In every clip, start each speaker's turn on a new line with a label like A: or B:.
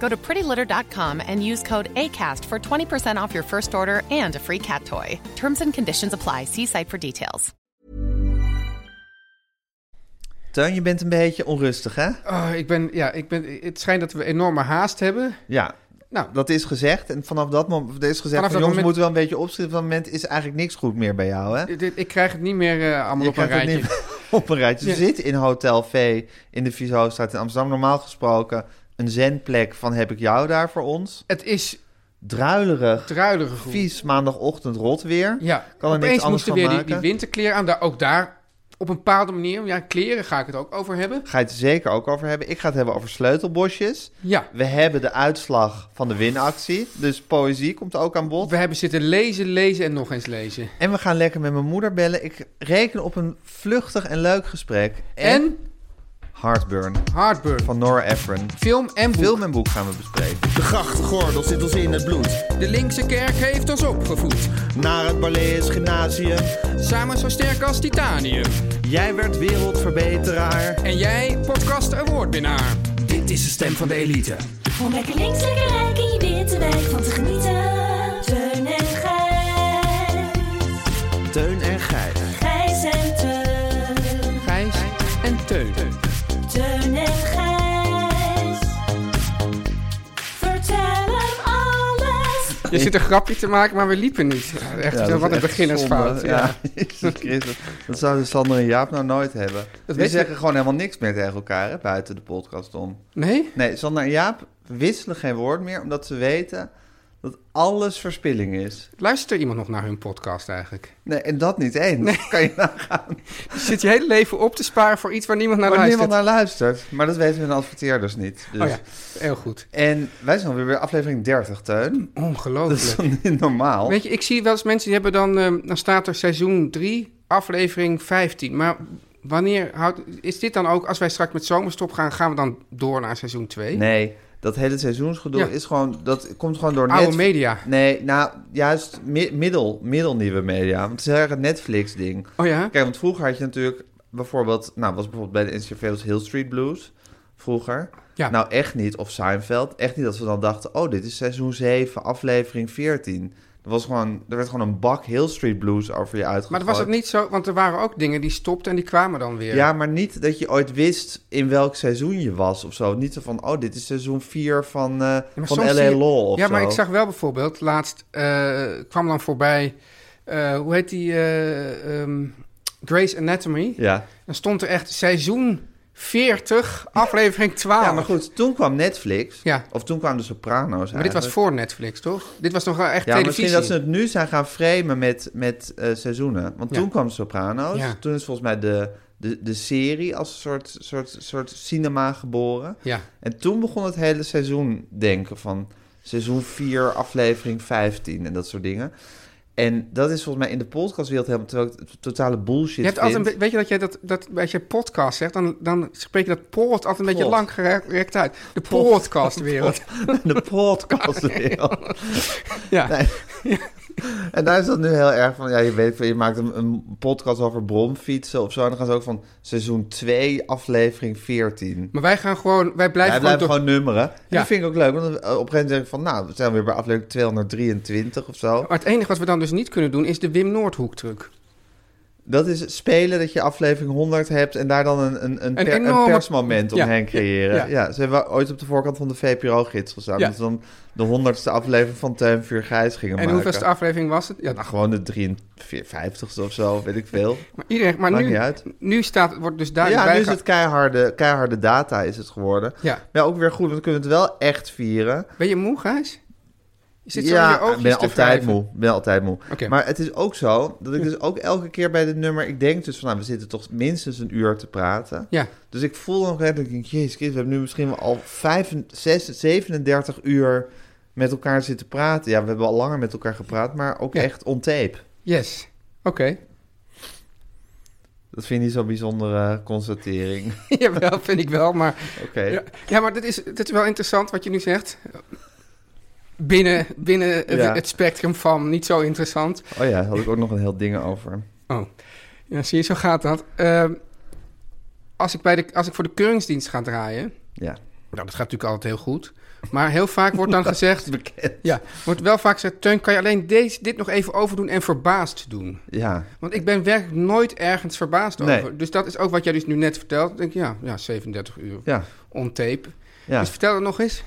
A: Go to prettylitter.com and use code ACAST for 20% off your first order and a free cat toy. Terms and conditions apply. See site for details.
B: Teun, je bent een beetje onrustig, hè?
C: Ah, ik ben, ja, ik ben, het schijnt dat we enorme haast hebben.
B: Ja.
C: Nou.
B: dat is gezegd. En vanaf dat moment er is gezegd,
C: Vanaf
B: van,
C: dat
B: jongens,
C: moment-
B: moeten wel een beetje opschieten. Van het moment is eigenlijk niks goed meer bij jou, hè?
C: Dit- dit- Ik krijg het niet meer eh, allemaal
B: Je
C: op een
B: krijgt het
C: rijtje.
B: niet op een rijtje. Ze
C: Ja.
B: zit in Hotel V in de Vieshoofdstraat in Amsterdam. Normaal gesproken een zendplek van heb ik jou daar voor ons.
C: Het is
B: Druilerig,
C: druilige groen.
B: vies maandagochtend rot weer.
C: Ja,
B: Kan er niks
C: opeens
B: anders
C: moesten
B: van
C: weer die,
B: maken.
C: die winterkleren aan. Daar, ook daar, op een bepaalde manier. Ja, kleren ga ik het ook over hebben.
B: Ga je het er zeker ook over hebben. Ik ga het hebben over sleutelbosjes.
C: Ja,
B: We hebben de uitslag van de winactie. Dus poëzie komt ook aan bod.
C: we hebben zitten lezen, lezen en nog eens lezen.
B: En we gaan lekker met mijn moeder bellen. Ik reken op een vluchtig en leuk gesprek.
C: En
B: Heartburn
C: Hardburn.
B: van Nora Ephron.
C: Film en boek.
B: Film en boek gaan we bespreken.
D: De grachtgordel zit ons in het bloed.
C: De linkse kerk heeft ons opgevoed.
D: Naar het Balees Gymnasium.
C: Samen zo sterk als titanium.
D: Jij werd wereldverbeteraar.
C: En jij, podcast awardwinnaar.
D: Dit is de stem van de elite.
E: Om lekker links, lekker rijk in je witte wijk van te genieten. Teun en Gijs.
D: Teun en Gijs.
E: Gijs en Teun.
C: Gijs en Teun.
E: Teun en Gijs. Vertel hem alles.
C: Je zit een grapje te maken, maar we liepen niet. Echt,
B: Ja, dat is
C: wat een
B: echt
C: beginnersfout.
B: zonde.
C: Ja.
B: Ja, Jezus Christus. Dat zouden Sander en Jaap nou nooit hebben. Die
C: weet je-
B: zeggen gewoon helemaal niks meer tegen elkaar hè, buiten de podcast om.
C: Nee?
B: Nee, Sander en Jaap wisselen geen woord meer omdat ze weten dat alles verspilling is.
C: Luistert er iemand nog naar hun podcast eigenlijk?
B: Nee, en dat niet eens. Kan je nou nagaan.
C: Je zit je hele leven op te sparen voor iets waar niemand naar
B: Waar
C: luistert.
B: niemand naar luistert. Maar dat weten hun adverteerders niet. Dus.
C: Oh ja, heel goed.
B: En wij zijn alweer bij aflevering 30, Teun. Dat
C: Ongelooflijk.
B: is dan niet normaal.
C: Weet je, ik zie wel eens mensen die hebben dan... ehm, dan staat er seizoen 3, aflevering 15. Maar wanneer houdt... Is dit dan ook, als wij straks met zomerstop gaan... gaan we dan door naar seizoen 2?
B: Nee, dat hele seizoensgedoe
C: Ja.
B: is gewoon, dat komt gewoon door
C: Oude
B: Netf-
C: media.
B: Nee, nou, juist mi- middel, middelnieuwe media. Want het is heel erg het Netflix-ding.
C: Oh ja?
B: Kijk, want vroeger had je natuurlijk bijvoorbeeld... Nou, was bijvoorbeeld bij de NCRV was Hill Street Blues. Vroeger.
C: Ja.
B: Nou, echt niet. Of Seinfeld. Echt niet dat we dan dachten... Oh, dit is seizoen 7, aflevering 14. Er, was gewoon, er werd gewoon een bak Hill Street Blues over je uitgegooid.
C: Maar dat was het niet zo... Want er waren ook dingen die stopten en die kwamen dan weer.
B: Ja, maar niet dat je ooit wist in welk seizoen je was of zo. Niet zo van, oh, dit is seizoen 4 van, eh
C: Ja, maar
B: van
C: soms
B: L.A.
C: zie je-
B: Law of
C: Ja, maar
B: zo.
C: ik zag wel bijvoorbeeld, laatst eh, kwam dan voorbij, eh, hoe heet die, eh, ehm, Grey's Anatomy.
B: Ja.
C: Dan stond er echt seizoen 40, aflevering 12.
B: ja, maar goed, toen kwam Netflix.
C: Ah. Ja.
B: Of toen kwamen de Soprano's
C: Maar dit was
B: eigenlijk.
C: voor Netflix, toch? Dit was nog wel echt
B: Ja, maar
C: televisie.
B: misschien dat ze het nu zijn gaan framen met, met eh, seizoenen. Want
C: Ja.
B: toen kwam Soprano's.
C: Ja.
B: Toen is volgens mij de, de, de serie als een soort, soort, soort cinema geboren.
C: Ja,
B: En toen begon het hele seizoen denken van seizoen 4, aflevering 15 en dat soort dingen. En dat is volgens mij in de podcastwereld helemaal terwijl ik het totale bullshit
C: je hebt altijd een
B: vind.
C: be- weet je dat jij dat, dat als je podcast zegt, dan, dan spreek je dat poort altijd een beetje
B: Pod.
C: lang gerekt uit. De
B: Pod.
C: podcastwereld.
B: de podcastwereld.
C: Ja.
B: Nee. En daar is dat nu heel erg van, ja, je weet, je maakt een, een podcast over bromfietsen of zo. En dan gaan ze ook van seizoen 2, aflevering 14.
C: Maar wij gaan gewoon, wij
B: Wij
C: blijven
B: blijven
C: gewoon door.
B: gewoon nummeren. En
C: Ja.
B: dat vind ik ook leuk, want op een gegeven moment zeg ik van, nou, we zijn weer bij aflevering 223 of zo.
C: Maar het enige wat we dan dus niet kunnen doen, is de Wim Noordhoek truc.
B: Dat is spelen dat je aflevering 100 hebt en daar dan een, een, een, per- een
C: enorme-
B: persmoment
C: Ja,
B: omheen
C: ja,
B: creëren. Ja,
C: ja.
B: ze hebben ooit op de voorkant van de VPRO-gids gestaan.
C: Ja.
B: Dat ze dan de 100ste aflevering van Teun Vuur Gijs gingen
C: En
B: maken.
C: hoeveelste aflevering was het? Ja,
B: Nou, gewoon de 53ste of zo, weet ik veel.
C: maar iedereen, maar
B: Maakt
C: nu,
B: niet uit.
C: nu staat, wordt dus duidelijk
B: Ja, nu is
C: bijge-
B: het keiharde, keiharde data is het geworden.
C: Ja.
B: Maar ook weer goed, want dan kunnen we het wel echt vieren.
C: Ben je moe, Gijs? Je zit zo in
B: ja,
C: je oogjes
B: ik ben
C: te
B: altijd
C: wrijven.
B: moe. Ik ben altijd moe.
C: Oké.
B: Maar het is ook zo dat ik dus ook elke keer bij dit nummer... Ik denk dus van, nou, we zitten toch minstens een uur te praten.
C: Ja.
B: Dus ik voel dan redelijk, ik denk, jezus, kind, we hebben nu misschien wel al 5, 6, 37 uur met elkaar zitten praten. Ja, we hebben al langer met elkaar gepraat, maar ook
C: Ja.
B: echt on tape.
C: Yes. Oké.
B: Dat vind ik niet zo'n bijzondere constatering.
C: Jawel, vind ik wel. Maar,
B: Oké.
C: ja, ja, maar dit is, dit is wel interessant wat je nu zegt. Binnen, binnen het-
B: Ja.
C: het spectrum van niet zo interessant.
B: Oh ja, daar had ik ook nog een heel ding over.
C: Oh, ja, zie je, zo gaat dat. Ehm, als, ik bij de, als ik voor de keuringsdienst ga draaien...
B: Ja.
C: Nou, dat gaat natuurlijk altijd heel goed. Maar heel vaak wordt dan gezegd...
B: Bekend.
C: Ja, wordt wel vaak gezegd... Teun, kan je alleen deze, dit nog even overdoen en verbaasd doen?
B: Ja.
C: Want ik ben werkelijk nooit ergens verbaasd
B: Nee.
C: over. Dus dat is ook wat jij dus nu net vertelt. Ik denk, ja, ja 37 uur
B: Ja.
C: on tape.
B: Ja.
C: Dus vertel het nog eens.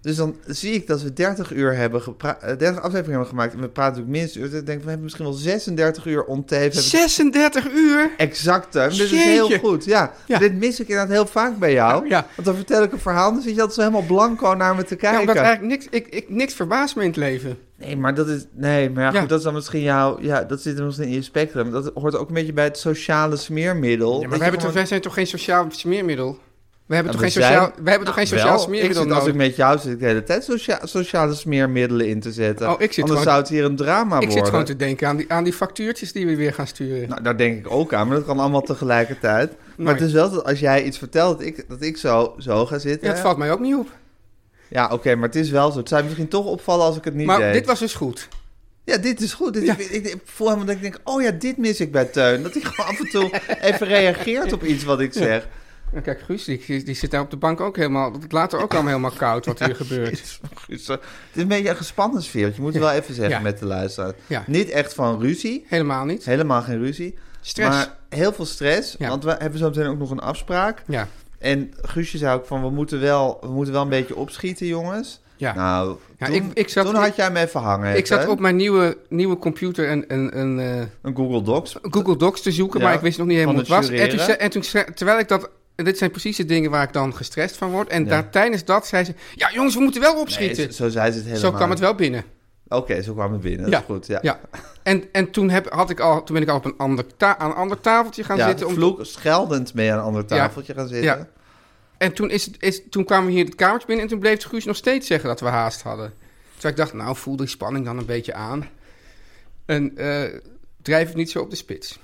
B: Dus dan zie ik dat we 30 uur hebben gepra- eh, 30 afleveringen hebben gemaakt. En we praten natuurlijk minstens uur. Dus Ik denk, we hebben misschien wel 36 uur ontheven.
C: 36 uur?
B: Exact, hè? dus het is
C: Jeetje.
B: heel goed. Ja.
C: Ja.
B: Dit mis ik inderdaad heel vaak bij jou.
C: Ja.
B: Want dan vertel ik een verhaal en dan zit je altijd zo helemaal blanco naar me te
C: Ja,
B: kijken.
C: omdat eigenlijk niks, ik, ik, niks verbaast me in het leven.
B: Nee, maar dat is... Nee, maar ja,
C: Ja.
B: goed, dat is dan misschien jouw... Ja, dat zit er misschien in je spectrum. Dat hoort ook een beetje bij het sociale smeermiddel.
C: Ja, maar
B: Dat
C: we
B: je
C: hebben toch,
B: gewoon-
C: wij zijn toch geen sociaal smeermiddel? We hebben
B: Ja,
C: toch
B: Nou, we
C: geen sociaal,
B: zijn- Nou,
C: we hebben toch geen sociaal
B: Wel, ik
C: smeermiddel
B: zit, Als ik
C: nodig?
B: met jou zit, ik de hele tijd socia- sociale smeermiddelen in te zetten.
C: Oh, ik zit
B: Anders
C: gewoon-
B: zou het hier een drama
C: Ik
B: worden.
C: zit gewoon te denken aan die, aan die factuurtjes die we weer gaan sturen.
B: Nou, daar denk ik ook aan, maar dat kan allemaal tegelijkertijd. Maar
C: Mooi.
B: het is wel dat als jij iets vertelt, dat ik, dat ik zo, zo ga zitten.
C: ja, dat valt mij ook niet op.
B: Ja, oké, maar het is wel zo. Het zou je misschien toch opvallen als ik het niet
C: Maar
B: deed.
C: dit was dus goed.
B: Ja, dit is goed. Dit,
C: Ja.
B: ik, ik, ik voel helemaal dat ik denk, oh ja, dit mis ik bij Teun. Dat hij gewoon af en toe even reageert op iets wat ik zeg.
C: Ja, Nou, kijk, Guus, die, die zit daar op de bank ook helemaal... Dat later ook allemaal helemaal koud wat hier gebeurt.
B: Het is een beetje een gespannen sfeer. want Je moet het wel even zeggen
C: Ja.
B: met de luisteraar.
C: Ja.
B: Niet echt van ruzie.
C: Helemaal niet.
B: Helemaal geen ruzie.
C: Stress.
B: Maar heel veel stress.
C: Ja.
B: Want we hebben zo meteen ook nog een afspraak.
C: Ja,
B: En Guusje zei ook van, we moeten wel, we moeten wel een beetje opschieten, jongens.
C: ja.
B: Nou,
C: Ja,
B: toen,
C: ik- ik zat-
B: toen had jij hem even hangen.
C: ik zat
B: hè?
C: op mijn nieuwe, nieuwe computer een, een, een eh,
B: Een Google Docs.
C: Google Docs te zoeken,
B: Ja,
C: maar ik wist nog niet helemaal
B: van
C: wat het was.
B: het
C: En toen,
B: jureren.
C: zei- en toen zei- terwijl ik dat... en Dit zijn precies de dingen waar ik dan gestrest van word. En daar, tijdens dat zei ze... Ja, jongens, we moeten wel
B: Nee,
C: opschieten.
B: zo, zo zei ze het helemaal.
C: Zo kwam het wel binnen.
B: Oké, zo kwam het binnen. Dat is goed, ja.
C: ja. En, en toen, heb, had ik al, toen ben ik al op een ander, ta- aan een ander tafeltje gaan
B: Ja,
C: zitten. om-
B: vloek, scheldend mee aan een ander
C: Ja.
B: tafeltje gaan zitten.
C: Ja. En toen, is, het- is, toen kwamen we hier het kamertje binnen en toen bleef Guus nog steeds zeggen dat we haast hadden. Dus ik dacht, nou voel die spanning dan een beetje aan. En eh, drijf het niet zo op de spits.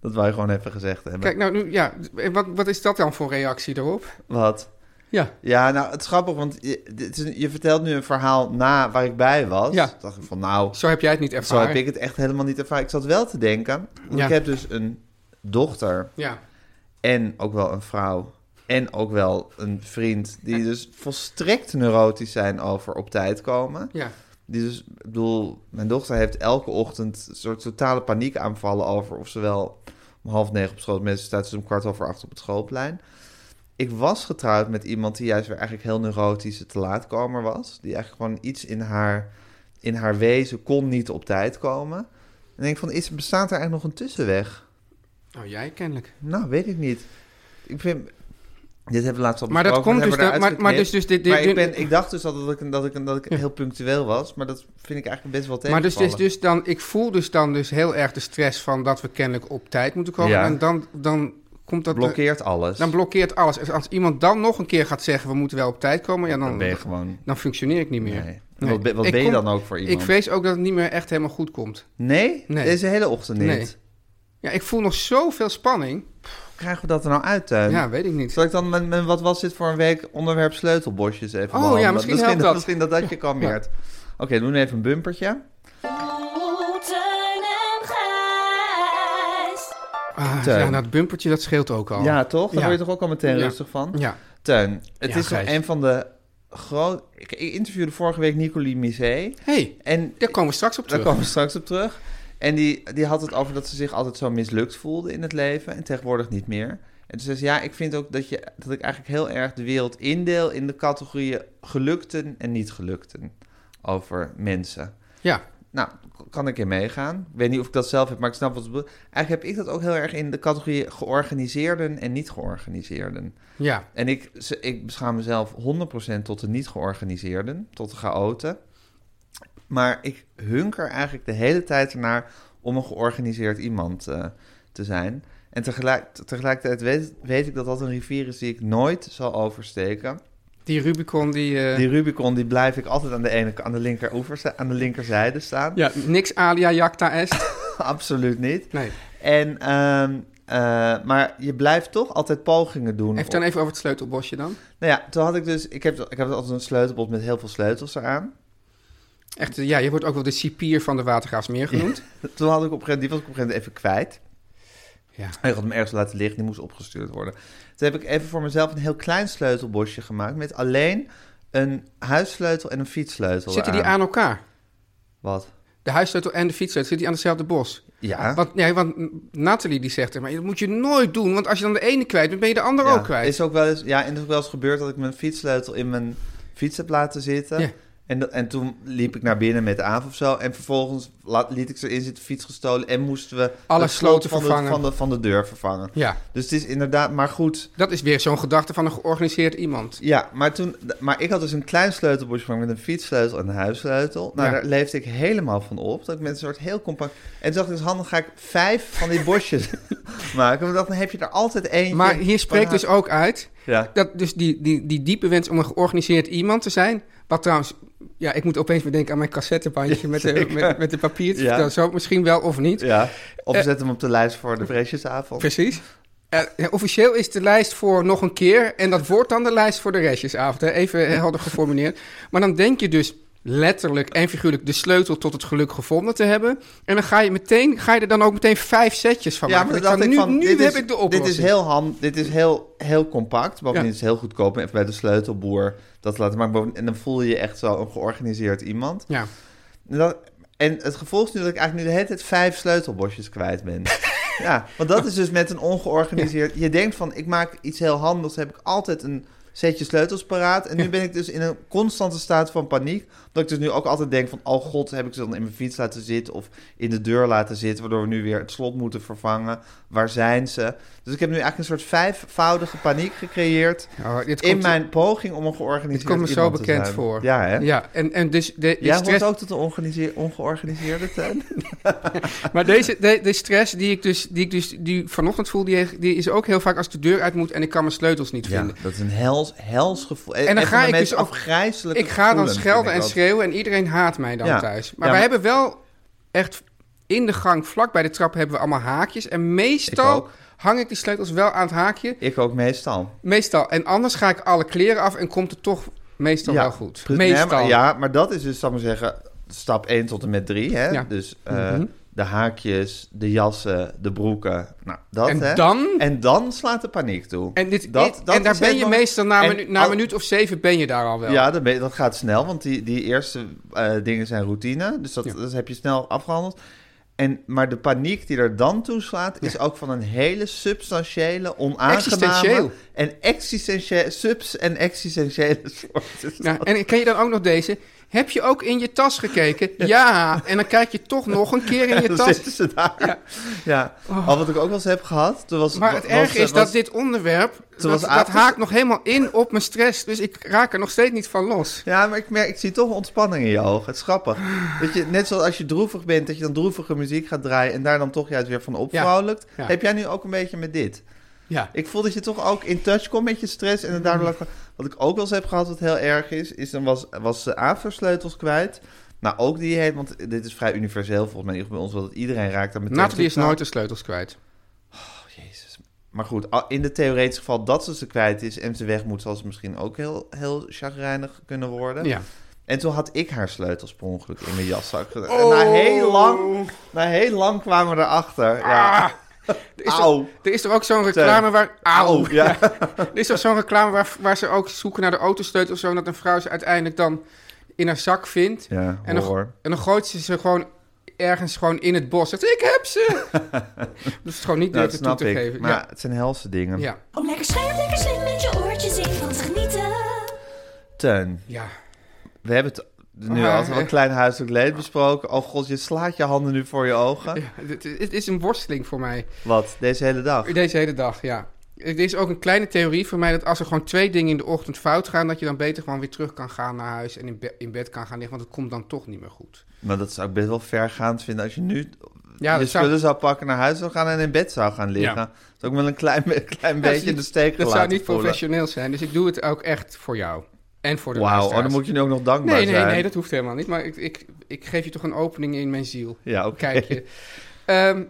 B: Dat wou je gewoon even gezegd hebben.
C: Kijk, nou nu, ja, en wat, wat is dat dan voor reactie erop?
B: Wat?
C: Ja,
B: Ja, nou, het is grappig, want je, dit is een- je vertelt nu een verhaal na waar ik bij was.
C: Ja.
B: Toen dacht ik van, nou,
C: zo heb jij het niet
B: zo
C: ervaren.
B: heb ik het echt helemaal niet ervaren. Ik zat wel te denken, want
C: Ja.
B: ik heb dus een dochter
C: Ja,
B: en ook wel een vrouw en ook wel een vriend... die dus volstrekt neurotisch zijn over op tijd komen.
C: ja.
B: Die dus, ik bedoel, mijn dochter heeft elke ochtend een soort totale paniekaanvallen over of ze wel om half negen op school mensen staat, dus om kwart over acht op het schoolplein. Ik was getrouwd met iemand die juist weer eigenlijk heel neurotische te laatkomer was. Die eigenlijk gewoon iets in haar, in haar wezen kon niet op tijd komen. En ik denk van, is, bestaat er eigenlijk nog een tussenweg?
C: Nou, jij kennelijk.
B: Nou, weet ik niet. Ik vind... Dit hebben we laatst al
C: Maar dat
B: besproken,
C: komt
B: hebben we
C: dus
B: daar
C: dat- maar- maar dus- dus dit- dit-
B: Maar ik,
C: dit-
B: ben, ik dacht dus altijd dat ik, dat ik, dat ik heel punctueel was. Maar dat vind ik eigenlijk best wel
C: Maar
B: tegenvallen.
C: dus, dus, dus dan, ik voel dus dan dus heel erg de stress van dat we kennelijk op tijd moeten komen.
B: Ja.
C: En dan, dan komt dat... eh,
B: blokkeert alles.
C: dus- Dan blokkeert alles. Als- Als iemand dan nog een keer gaat zeggen, we moeten wel op tijd komen, ja, dan,
B: ben je gewoon...
C: dan functioneer ik niet meer.
B: Nee. Wat, ben- wat
C: Ik
B: ben je
C: kom-
B: dan ook voor iemand?
C: Ik vrees ook dat het niet meer echt helemaal goed komt.
B: Nee?
C: Nee.
B: Deze hele ochtend niet.
C: Nee. Ja, ik voel nog zoveel spanning.
B: Krijgen we dat er nou uit, Teun?
C: Ja, weet ik niet.
B: Zal ik dan mijn, mijn wat was dit voor een week onderwerp sleutelbosjes even
C: Oh, ja,
B: behandelen?
C: misschien helpt dat.
B: Misschien dat dat je kalmeert. Oké, doen we even een bumpertje.
E: Oh, Teun en Gijs.
C: Ah,
B: Teun.
C: ja, dat bumpertje, dat scheelt ook al.
B: eh, Ja, toch? Daar
C: Oh. Ja.
B: word je toch ook al meteen
C: Ja.
B: rustig van?
C: Ja.
B: Teun, het
C: Ja,
B: is toch
C: Gijs.
B: een van de groot. Ik ik interviewde vorige week Nicolie Misé.
C: hey,
B: En
C: daar komen we straks op
B: daar
C: terug.
B: komen we straks op terug. En die, die had het over dat ze zich altijd zo mislukt voelde in het leven en tegenwoordig niet meer. En toen zei ze, ja, ik vind ook dat, je, dat ik eigenlijk heel erg de wereld indeel in de categorieën gelukten en niet gelukten over mensen.
C: Ja,
B: Nou, k- kan ik in meegaan. Ik weet niet of ik dat zelf heb, maar ik snap wat ze bedoelt. Eigenlijk heb ik dat ook heel erg in de categorie georganiseerden en niet georganiseerden.
C: ja.
B: En ik, ze- ik beschaam mezelf 100% tot de niet georganiseerden, tot de chaoten. Maar ik hunker eigenlijk de hele tijd ernaar om een georganiseerd iemand eh, te zijn. En tegelijk, tegelijkertijd weet, weet ik dat dat een rivier is die ik nooit zal oversteken.
C: Die Rubicon die... eh,
B: Die Rubicon die blijf ik altijd aan de, ene, aan de, linkeroever, sta- aan de linkerzijde staan.
C: Ja, niks alia jacta est.
B: Absoluut niet.
C: Nee.
B: En, ehm, eh, maar je blijft toch altijd pogingen doen.
C: Even dan even over het sleutelbosje dan.
B: Nou ja, toen had ik dus... Ik heb, ik heb altijd een sleutelbos met heel veel sleutels eraan.
C: Echt, eh, ja, je wordt ook wel de cipier van de Watergraafsmeer genoemd.
B: Toen had ik op een gegeven moment, die was ik op een gegeven moment even kwijt.
C: Ja.
B: Ik had hem ergens laten liggen, die moest opgestuurd worden. Toen heb ik even voor mezelf een heel klein sleutelbosje gemaakt met alleen een huissleutel en een fietssleutel.
C: Zitten die
B: eraan.
C: aan elkaar?
B: Wat?
C: De huissleutel en de fietssleutel, zitten die aan hetzelfde bos?
B: Ja.
C: Want, nee, want Nathalie die zegt, maar dat moet je nooit doen, want als je dan de ene kwijt bent, ben je de andere
B: ja.
C: ook kwijt.
B: Is ook wel eens, ja, en het is ook wel eens gebeurd dat ik mijn fietssleutel in mijn fiets heb laten zitten.
C: Ja.
B: En, dat, en toen liep ik naar binnen met de avond of zo. En vervolgens laat, liet ik ze in zitten, fiets gestolen. En moesten we
C: Alle
B: het slot
C: sloten
B: van de-
C: vervangen.
B: van de, van de deur vervangen.
C: Ja,
B: Dus het is inderdaad, maar goed.
C: dat is weer zo'n gedachte van een georganiseerd iemand.
B: Ja, maar, toen, maar ik had dus een klein sleutelbosje gemaakt met een fietssleutel en een huissleutel. Nou,
C: Ja.
B: daar leefde ik helemaal van op. Dat ik met een soort heel compact... En toen dacht ik, dus handig ga ik vijf van die bosjes maken. Want ik dacht, dan heb je er altijd eentje.
C: Maar hier spreekt
B: van
C: dus ook uit,
B: Ja.
C: dat dus die, die, die diepe wens om een georganiseerd iemand te zijn, wat trouwens, ja, ik moet opeens weer denken aan mijn cassettebandje met, de,
B: zeker.
C: met, met de papiertjes,
B: Ja.
C: dat zo misschien wel of niet.
B: ja. Of zet hem op de lijst voor de vresjesavond.
C: Precies. Eh, ja, officieel is de lijst voor nog een keer. En dat wordt dan de lijst voor de restjesavond. Hè? Even eh, helder geformuleerd. Maar dan denk je dus letterlijk en figuurlijk de sleutel tot het geluk gevonden te hebben. En dan ga je, meteen, ga je er dan ook meteen vijf setjes van
B: Ja,
C: maken.
B: maar dat
C: Dan
B: dacht ik
C: nu
B: van...
C: nu
B: dit
C: heb
B: is,
C: ik de
B: Dit
C: oplossing.
B: is heel, ham, dit is heel, heel compact. Bovendien
C: Ja.
B: is het heel goedkoop. En even bij de sleutelboer dat laten maken. Bovendien- En dan voel je je echt zo een georganiseerd iemand.
C: Ja.
B: En, dat- en het gevolg is nu dat ik eigenlijk nu de hele tijd vijf sleutelbosjes kwijt ben. ja, want dat is dus met een ongeorganiseerd... Je denkt van, ik maak iets heel handigs, heb ik altijd een setje sleutels paraat. En nu ben ik dus in een constante staat van paniek. Dat ik dus nu ook altijd denk van, oh god, heb ik ze dan in mijn fiets laten zitten... of in de deur laten zitten, waardoor we nu weer het slot moeten vervangen. Waar zijn ze? Dus ik heb nu eigenlijk een soort vijfvoudige paniek gecreëerd...
C: Oh, dit
B: in
C: komt,
B: mijn poging om een
C: dit
B: georganiseerd
C: komt me zo
B: iemand te
C: bekend
B: zijn.
C: voor.
B: Ja, hè?
C: Ja, en, en dus de, die
B: Jij
C: stress...
B: hoort ook tot de ongeorganiseer- ongeorganiseerde tuin?
C: Maar deze, de, de stress die ik dus, die ik dus die vanochtend voel, die, die is ook heel vaak als ik de deur uit moet en ik kan mijn sleutels niet vinden.
B: dat is een hels, hels gevoel. En,
C: dan
B: van
C: ga
B: de
C: ik
B: meest
C: dus ook-
B: afgrijzelijke
C: Ik ga dan
B: gevoelens,
C: schelden
B: vind
C: en
B: ik dat.
C: schreeuwen en iedereen haat mij dan
B: Ja.
C: thuis.
B: Ja,
C: Maar wij
B: maar-
C: hebben wel echt in de gang, vlak bij de trap, hebben we allemaal haakjes. En meestal
B: Ik ook.
C: hang ik die sleutels wel aan het haakje.
B: Ik ook meestal.
C: Meestal. En anders ga ik alle kleren af en komt het toch meestal wel goed.
B: Pre- nee,
C: meestal.
B: maar, ja, maar dat is dus, zal ik maar zeggen, stap 1 tot en met 3. Hè?
C: Ja. Mhm.
B: Dus eh, de haakjes, de jassen, de broeken. Nou, dat,
C: En
B: hè.
C: dan?
B: En dan slaat de paniek toe.
C: En, dit,
B: Dat-
C: dit-
B: dat
C: en daar
B: is
C: ben je
B: helemaal-
C: meestal na,
B: en
C: minu- na
B: al-
C: een minuut of zeven ben je daar al wel.
B: Ja, dat, ben- dat gaat snel, want die, die eerste eh, dingen zijn routine. Dus dat,
C: Ja.
B: dat heb je snel afgehandeld. En, maar de paniek die er dan toeslaat, is ook van een hele substantiële,
C: Existentieel.
B: onaangename... En existentiële, subs- en existentiële soort. Dus
C: Nou, en ken je dan ook nog deze? Heb je ook in je tas gekeken? Ja. En dan kijk je toch nog een keer in je
B: dan
C: tas.
B: zitten ze daar. Ja. Al wat ik ook wel eens heb gehad. Toen was,
C: Oh. Maar het
B: was-
C: erg is
B: was-
C: dat dit onderwerp, dat,
B: was
C: dat
B: avond-
C: haakt nog helemaal in op mijn stress. Dus ik raak er nog steeds niet van los.
B: Ja, maar ik, merk, ik zie toch ontspanning in je ogen. Het is grappig. Dat je, net zoals als je droevig bent, dat je dan droevige muziek gaat draaien... en daar dan toch juist weer van opvrouwelijkt.
C: Ja.
B: Heb jij nu ook een beetje met dit?
C: Ja.
B: Ik voel dat je toch ook in touch komt met je stress. En het daardoor
C: Mm.
B: laat gaan. Wat ik ook wel eens heb gehad, wat heel erg is, is dan was, was ze aversleutels kwijt. Nou, ook die heet, want dit is vrij universeel volgens mij. in ieder geval Bij ons wel dat iedereen raakt daar meteen.
C: Nathalie is
B: totaal-
C: nooit de sleutels kwijt.
B: Jezus. Maar goed, al- in de theoretische geval dat ze ze kwijt is en ze weg moet, zal ze misschien ook heel, heel chagrijnig kunnen worden.
C: Ja.
B: En toen had ik haar sleutels per ongeluk in mijn jaszak gedaan. En
C: Oh.
B: na heel lang, na heel lang kwamen we erachter. Ja.
C: Er is,
B: Auw.
C: toch, er is toch ook zo'n reclame waar... Auw.
B: Au, ja. Nou,
C: Er is toch zo'n reclame waar, waar ze ook zoeken naar de autosleutel of zo... en dat een vrouw ze uiteindelijk dan in haar zak vindt.
B: Ja,
C: en, dan,
B: horror.
C: en dan gooit ze ze gewoon ergens gewoon in het bos zegt, ik heb ze. dus het gewoon niet
B: Nou, dat
C: durven toe
B: snap
C: te
B: ik.
C: geven.
B: Maar
C: Ja.
B: het zijn helse dingen.
C: ja,
E: Om lekker scherp, lekker slim met je oortjes in van te genieten.
B: Teun,
C: ja.
B: we hebben het nu
C: Ah,
B: altijd wel een
C: eh.
B: klein huiselijk leed besproken. Oh god, je slaat je handen nu voor je ogen.
C: Ja, het, het is een worsteling voor mij.
B: Wat, deze hele dag?
C: Deze hele dag, ja. Er is ook een kleine theorie voor mij dat als er gewoon twee dingen in de ochtend fout gaan, dat je dan beter gewoon weer terug kan gaan naar huis en in, be- in bed kan gaan liggen, want het komt dan toch niet meer goed.
B: Maar dat zou ik best wel vergaand vinden als je nu
C: Ja,
B: je
C: dat zou-
B: spullen zou pakken, naar huis zou gaan en in bed zou gaan liggen.
C: Ja.
B: Dat is ook wel een klein, be- klein beetje in de steek
C: Dat zou
B: gelaten
C: niet
B: voelen.
C: professioneel zijn, dus ik doe het ook echt voor jou. En voor de
B: Wauw, oh, dan
C: luisteraars.
B: moet je nu ook nog dankbaar
C: Nee, nee,
B: zijn.
C: nee, dat hoeft helemaal niet. Maar ik, ik, ik geef je toch een opening in mijn ziel.
B: Ja, oké.
C: Kijk je. Ehm,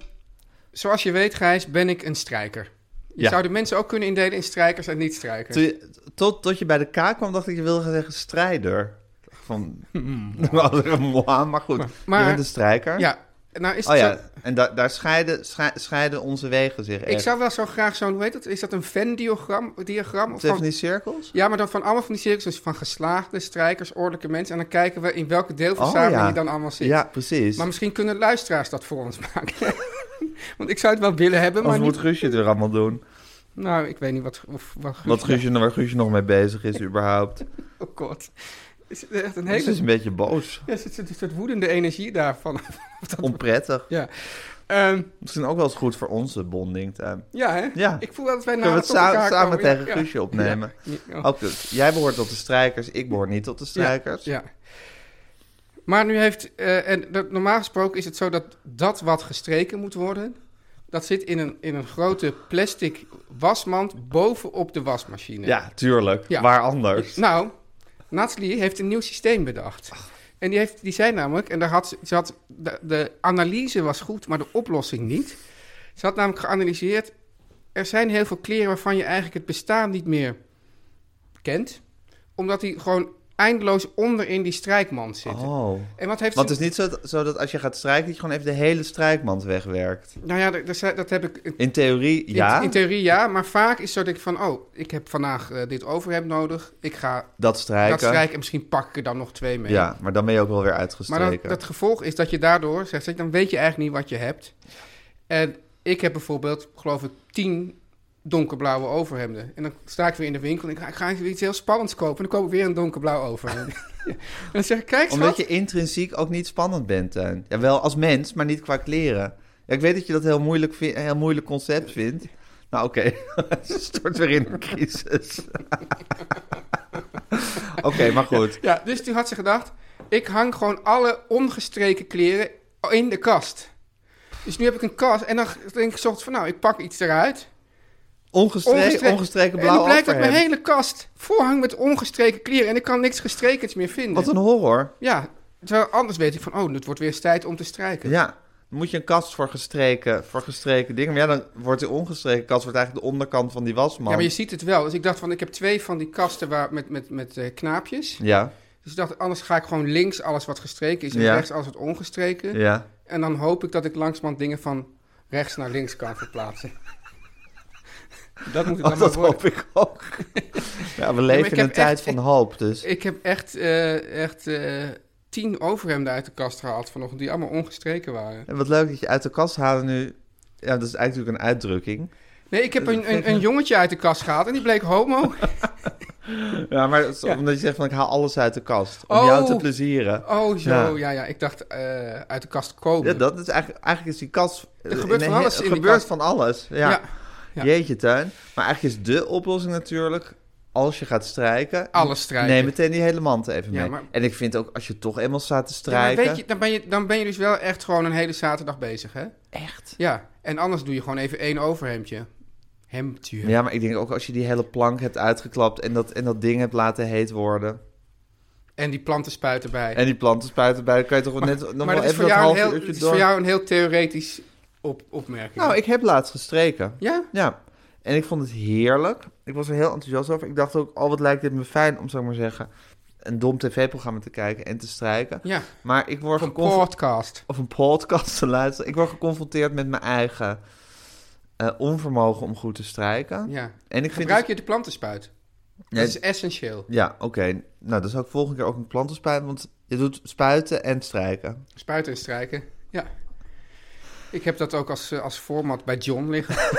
C: zoals je weet, Gijs, ben ik een strijker. Je
B: Ja.
C: zou de mensen ook kunnen indelen in strijkers en niet-strijkers.
B: Toen je- tot, tot je bij de K kwam, dacht ik, je wilde gaan zeggen strijder. Van, Mwah, maar goed,
C: Hmm, maar-
B: je bent een strijker.
C: Ja, nou is het
B: Oh
C: zo-
B: ja, en da- daar scheiden, schei- scheiden onze wegen zich echt.
C: Ik zou wel zo graag zo'n, hoe heet dat? Is dat een Venn-diagram? Diagram? Of
B: Stephanie
C: van-
B: Cirkels?
C: ja, maar dan van allemaal van die cirkels, dus van geslaagde strijkers, ordelijke mensen. En dan kijken we in welke deel van de samenleving je dan allemaal zit.
B: Oh, Ja, precies.
C: Maar
B: Maar
C: misschien kunnen luisteraars dat voor ons maken. Want ik zou het wel willen hebben, maar
B: Anders moet
C: niet...
B: Guusje het weer allemaal doen.
C: Nou, ik weet niet wat... Of, wat Guus-
B: Wat Guusje, waar Guusje nog mee bezig is überhaupt.
C: Oh god. Is het echt een
B: Ze
C: hele...
B: is een beetje boos.
C: Ja, er zit een soort woedende energie daarvan.
B: Onprettig.
C: ja. Ehm,
B: Misschien ook wel eens goed voor onze bonding. Tuin.
C: ja, hè?
B: Ja.
C: Ik voel wel dat wij
B: Kunnen we
C: nader
B: het
C: Nou,
B: sa-
C: tot elkaar
B: samen
C: komen.
B: tegen
C: Ja.
B: Guusje opnemen?
C: Ja. Ja.
B: Ook goed. Jij behoort tot de strijkers, ik behoor niet tot de strijkers.
C: Ja. Maar nu heeft... eh, en dat- normaal gesproken is het zo dat dat wat gestreken moet worden... dat zit in een, in een grote plastic wasmand bovenop de wasmachine.
B: Ja, tuurlijk.
C: Ja.
B: Waar anders?
C: Nou, Nathalie heeft een nieuw systeem bedacht. En die, heeft, die zei namelijk, en daar had, ze- ze had, de, de analyse was goed, maar de oplossing niet. Ze had namelijk geanalyseerd, er zijn heel veel kleren waarvan je eigenlijk het bestaan niet meer kent. Omdat die gewoon eindeloos onder in die strijkmand zitten.
B: oh.
C: En wat heeft
B: Want
C: ze-
B: het is niet zo, zo dat als je gaat strijken, dat je gewoon even de hele strijkmand wegwerkt.
C: Nou ja, dat, dat- dat heb ik in-
B: In theorie,
C: in,
B: ja.
C: in theorie ja, maar vaak is het zo dat ik van, oh, ik heb vandaag eh, dit overhemd nodig. Ik ga
B: dat strijken.
C: dat strijken en misschien pak ik er dan nog twee mee.
B: Ja, maar dan ben je ook wel weer
C: Maar
B: uitgestreken.
C: dan, dat gevolg is dat je daardoor, zegt ze, dan weet je eigenlijk niet wat je hebt. En ik heb bijvoorbeeld, geloof ik, tien donkerblauwe overhemden. En dan sta ik weer in de winkel en ik ga, ik ga even iets heel spannends kopen. En dan koop ik weer een donkerblauw overhemd. Ja. En dan zeg ik, kijk schat.
B: Omdat je intrinsiek ook niet spannend bent, Teun. Ja, wel als mens, maar niet qua kleren. Ja, ik weet dat je dat heel moeilijk, vind- een heel moeilijk concept vindt. Nou, oké. Ze stort weer in een crisis. oké, maar goed.
C: Ja, dus toen had ze gedacht, ik hang gewoon alle ongestreken kleren in de kast. Dus nu heb ik een kast en dan denk ik 's ochtends van, nou, ik pak iets eruit.
B: Ongestreken,
C: Ongestre-
B: ongestreken,
C: En
B: blauw
C: dan blijkt dat mijn
B: overhemd.
C: hele kast volhangt met ongestreken kleren. En ik kan niks gestrekens meer vinden.
B: Wat een horror.
C: Ja, terwijl anders weet ik van, oh, het wordt weer eens tijd om te strijken.
B: Ja, dan moet je een kast voor gestreken, voor gestreken dingen. Maar ja, dan wordt die ongestreken kast wordt eigenlijk de onderkant van die wasman.
C: Ja, maar je ziet het wel. Dus ik dacht van, ik heb twee van die kasten waar, met, met, met eh, knaapjes.
B: Ja,
C: Dus ik dacht, anders ga ik gewoon links alles wat gestreken is en
B: Ja.
C: rechts alles wat ongestreken.
B: ja.
C: En dan hoop ik dat ik langzamerhand dingen van rechts naar links kan verplaatsen. dat moet ik dan
B: Oh,
C: maar
B: dat
C: worden.
B: hoop ik ook. ja, we
C: ik
B: leven in
C: heb
B: een tijd
C: echt-
B: van
C: ik-
B: hoop, dus...
C: Ik heb echt, eh, echt eh, tien overhemden uit de kast gehaald vanochtend, die allemaal ongestreken waren.
B: En wat leuk dat je uit de kast halen nu. Ja, dat is eigenlijk een uitdrukking.
C: Nee, ik heb een, een, een jongetje uit de kast gehaald en die bleek homo.
B: Ja, maar het is omdat je zegt van ik haal alles uit de kast. Om
C: Oh.
B: jou te plezieren.
C: Oh, zo, ja,
B: Ja.
C: ja. Ik dacht eh, uit de kast komen.
B: Ja, dat is eigenlijk, eigenlijk is die kast. eh, Er
C: gebeurt van alles in die
B: gebeurt
C: kast.
B: van alles. Ja.
C: Ja. Ja.
B: Jeetje, tuin. Maar eigenlijk is de oplossing natuurlijk. Als je gaat strijken.
C: Alles strijken.
B: Neem meteen die hele mand even
C: Ja,
B: mee.
C: maar-
B: En ik vind ook als je toch eenmaal staat te
C: Ja, maar
B: strijken.
C: weet je, dan ben je, dan ben je dus wel echt gewoon een hele zaterdag bezig, hè?
B: Echt.
C: Ja. En anders doe je gewoon even één overhemdje. Hemdje.
B: Ja, maar ik denk ook als je die hele plank hebt uitgeklapt. En dat, en dat ding hebt laten heet worden.
C: En die plantenspuit erbij.
B: En die planten spuiten bij. Dan kan je toch wel net. nog
C: maar
B: wel
C: dat is,
B: even
C: voor
B: dat
C: jou, een
B: half
C: heel,
B: uurtje
C: dat is
B: door.
C: voor jou een heel theoretisch op, opmerking.
B: Nou, ik heb laatst gestreken.
C: Ja?
B: Ja. En ik vond het heerlijk. Ik was er heel enthousiast over. Ik dacht ook, oh wat lijkt dit me fijn om, zou ik maar zeggen, een dom tv-programma te kijken en te strijken.
C: Ja.
B: Maar ik word
C: Of een
B: geconfronteerd...
C: podcast.
B: Of een podcast te luisteren. Ik word geconfronteerd met mijn eigen eh, onvermogen om goed te strijken.
C: Ja.
B: En ik
C: Gebruik
B: vind... dus-
C: je de plantenspuit?
B: Nee,
C: Dat is essentieel.
B: Ja, oké. Nou, dan zou ik volgende keer ook een planten spuiten, want je doet spuiten en strijken.
C: Spuiten en strijken. Ja. Ik heb dat ook als, eh, als format bij John liggen.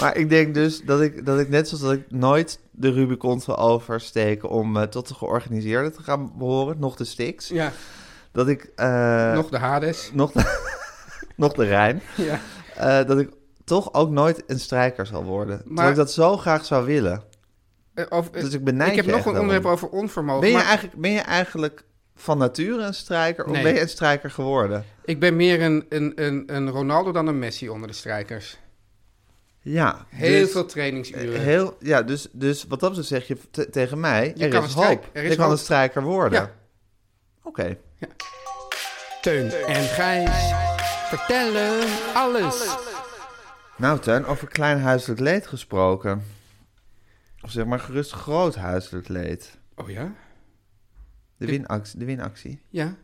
B: Maar ik denk dus dat ik, dat ik net zoals dat ik nooit de Rubicon zal oversteken om eh, tot de georganiseerde te gaan behoren, nog de Styx.
C: Ja,
B: Dat ik eh,
C: nog de Hades.
B: nog de, nog de Rijn.
C: Ja.
B: Eh, dat ik toch ook nooit een strijker zal worden. Maar... Terwijl ik dat zo graag zou willen.
C: Eh, Of, eh,
B: Dus ik benijd
C: ik heb
B: je
C: nog
B: echt
C: een
B: daarom.
C: onderwerp over onvermogen.
B: Ben je,
C: maar
B: eigenlijk, ben je eigenlijk van nature een strijker of
C: Nee.
B: ben je een strijker geworden?
C: Ik ben meer een, een, een, een Ronaldo dan een Messi onder de strijkers.
B: Ja.
C: Heel
B: dus-
C: veel trainingsuren.
B: Heel, ja, dus, dus wat dat betreft zeg je te- tegen mij,
C: Je
B: er,
C: kan
B: is
C: een
B: hoop.
C: strijk- er is
B: je kan
C: hoop.
B: een strijker worden.
C: Ja.
B: Oké.
C: Teun en Gijs vertellen alles.
B: Nou Tuin, over klein huiselijk leed gesproken. Of zeg maar gerust groot huiselijk leed.
C: Oh ja?
B: De winactie. De winactie.
C: Ja.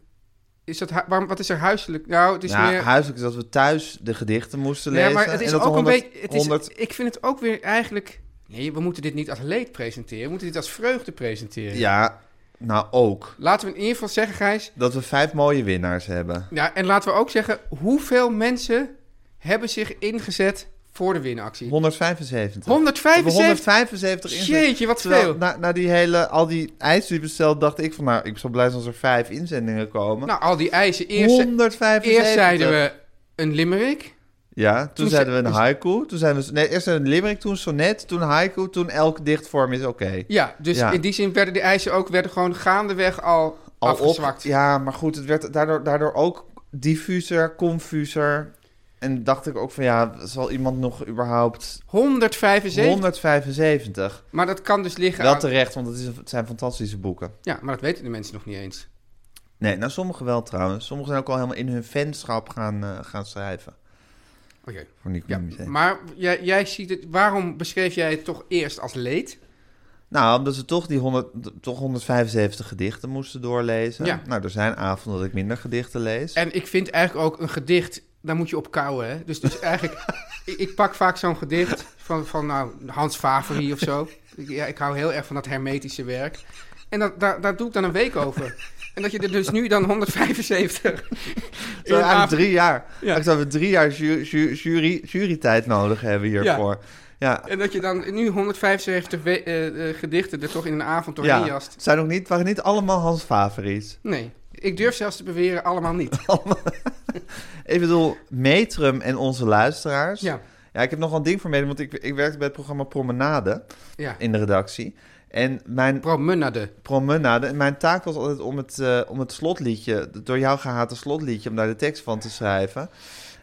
C: Is dat hu- waarom, wat is er huiselijk? Nou, het is
B: nou,
C: meer...
B: huiselijk is dat we thuis de gedichten moesten
C: Ja,
B: lezen.
C: maar het is
B: en dat
C: ook een
B: 100
C: beetje... Het is,
B: 100
C: Ik vind het ook weer eigenlijk... Nee, we moeten dit niet als leed presenteren. We moeten dit als vreugde presenteren.
B: Ja, nou ook.
C: Laten we in ieder geval zeggen, Gijs...
B: Dat we vijf mooie winnaars hebben.
C: Ja, en laten we ook zeggen... Hoeveel mensen hebben zich ingezet voor de winactie?
B: 175.
C: 175?
B: We hebben 175 inzendingen.
C: Jeetje, wat
B: Terwijl
C: veel.
B: Na, na die hele, al die eisen die besteld, dacht ik van nou, ik zal blij zijn als er vijf inzendingen komen.
C: Nou, al die eisen. Eerst,
B: 175.
C: eerst zeiden we een limerick.
B: Ja, toen,
C: Toen
B: zeiden we
C: ze- dus-
B: een haiku. Toen zeiden we, nee, eerst een limerick, toen sonnet, toen haiku, toen elke dichtvorm is oké.
C: Ja, dus
B: Ja.
C: in die zin werden de eisen ook werden gewoon gaandeweg al,
B: Al op-
C: afgezwakt.
B: ja, maar goed, het werd daardoor, daardoor ook diffuser, confuser. En dacht ik ook van ja, zal iemand nog überhaupt
C: 175.
B: 175?
C: Maar dat kan dus liggen
B: Wel
C: aan-
B: terecht, want het, is, het zijn fantastische boeken.
C: Ja, maar dat weten de mensen nog niet eens.
B: Nee, nou sommigen wel trouwens. Sommigen zijn ook al helemaal in hun fanschap gaan, eh, gaan schrijven.
C: Oké.
B: Voor Nico
C: Oh Ja,
B: ja, Museum.
C: maar jij, jij ziet het... Waarom beschreef jij het toch eerst als leed?
B: Nou, omdat ze toch die 100, toch 175 gedichten moesten doorlezen.
C: Ja.
B: Nou, er zijn avonden dat ik minder gedichten lees.
C: En ik vind eigenlijk ook een gedicht... Daar moet je op kouwen, hè? Dus, dus eigenlijk... ik, ik pak vaak zo'n gedicht van, van nou, Hans Favori of zo. Ik- Ja, ik hou heel erg van dat hermetische werk. En dat, daar, daar doe ik dan een week over. En dat je er dus nu dan 175...
B: Zo
C: in
B: eigenlijk
C: af-
B: drie jaar.
C: Ja.
B: Ik zou we drie jaar ju- ju- jury, jurytijd nodig hebben hiervoor. Ja.
C: En dat je dan nu 175 we- eh, eh, gedichten er toch in een avond doorheen
B: Ja.
C: jast.
B: Het zijn ook niet, waren niet allemaal Hans Favories.
C: Nee, ik durf zelfs te beweren allemaal niet.
B: Ik bedoel, Metrum en onze luisteraars.
C: Ja,
B: Ja, ik heb nog wel een ding voor mede, want ik, ik werkte bij het programma Promenade
C: ja.
B: in de redactie. En mijn
C: Promenade.
B: Promenade. En mijn taak was altijd om het, eh, om het slotliedje, het door jou gehate slotliedje, om daar de tekst van te schrijven.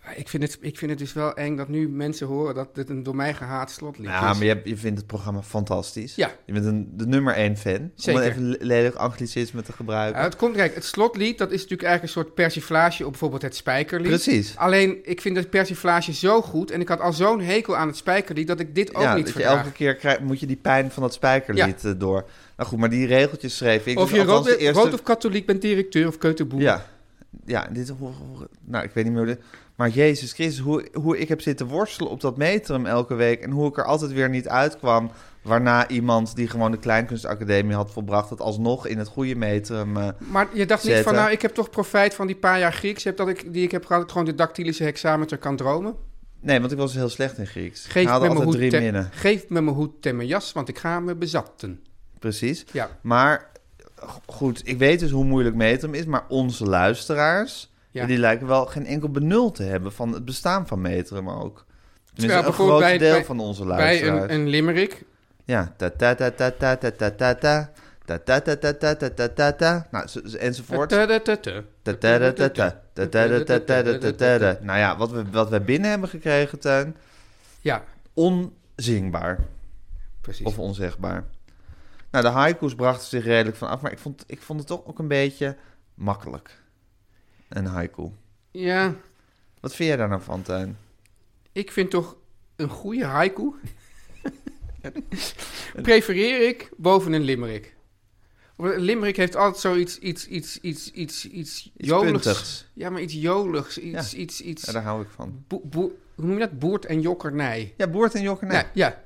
C: Maar Ik vind, het, ik vind het dus wel eng dat nu mensen horen dat dit een door mij gehaat slotlied
B: Ja,
C: is.
B: maar je, je vindt het programma fantastisch.
C: Dus- Ja.
B: Je bent een, de nummer één fan.
C: Zeker.
B: Om even le- lelijk anglicisme te gebruiken.
C: Ja, het komt kijk, het slotlied dat is natuurlijk eigenlijk een soort persiflage op bijvoorbeeld het spijkerlied.
B: Precies.
C: Alleen, ik vind dat persiflage zo goed en ik had al zo'n hekel aan het spijkerlied dat ik dit ook
B: ja,
C: niet
B: dat je
C: verdraag.
B: elke keer krijgt, moet je die pijn van dat spijkerlied eh, door. Nou goed, maar die regeltjes schreef ik.
C: Of
B: dus
C: je
B: althans
C: rood,
B: de eerste-
C: rood of katholiek bent directeur of keuterboer.
B: Ja, ja dit, hoe, hoe- nou, ik weet niet meer hoe dit- Maar Jezus Christus, hoe, hoe ik heb zitten worstelen op dat metrum elke week... en hoe ik er altijd weer niet uitkwam... waarna iemand die gewoon de Kleinkunstacademie had volbracht... dat alsnog in het goede metrum... eh,
C: Maar je dacht niet van,
B: Zetten.
C: nou, ik heb toch profijt van die paar jaar Grieks heb dat ik, die ik heb gehad, dat ik gewoon de dactylische hexameter kan dromen.
B: Nee, want ik was dus heel slecht in Grieks. ik
C: Geef
B: haalde
C: me, mijn
B: altijd
C: hoed
B: drie
C: te-
B: minnen.
C: geef me mijn hoed en mijn jas, want ik ga me bezatten.
B: Precies.
C: Ja.
B: Maar g- goed, ik weet dus hoe moeilijk metrum is, maar onze luisteraars,
C: Ja.
B: ja, die lijken wel geen enkel benul te hebben van het bestaan van metrum ook. Tenminste, een
C: bijvoorbeeld
B: groot
C: bij-
B: deel
C: bij-
B: van onze
C: Bij
B: luisteraars.
C: een, een limerick.
B: Ja, ta ta ta ta ta ta ta ta ta ta ta ta ta ta ta ta ta ta nou zo- zo- enzovoort. Ta
C: Ta-ta-ta-ta.
B: ta ta ta ta ta ta ta ta ta ta ta ta. Nou ja, wat we wat we binnen hebben gekregen, tuin,
C: Ja,
B: onzingbaar.
C: precies.
B: Of onzegbaar. Nou, de haiku's brachten zich redelijk van af, maar ik vond, ik vond het toch ook een beetje makkelijk. Een haiku.
C: Ja,
B: Wat vind jij daar nou van, Tuin?
C: ik vind toch een goede haiku. Prefereer ik boven een limerick. Omdat Een limerick heeft altijd zoiets iets, iets, iets, iets, iets joligs.
B: puntigs.
C: Ja, maar iets joligs. Iets,
B: Ja.
C: iets, iets.
B: Ja, daar hou ik van.
C: boe- boe- hoe noem je dat? Boert en jokkernij.
B: Ja, Boert en Jokkernij.
C: Ja, ja,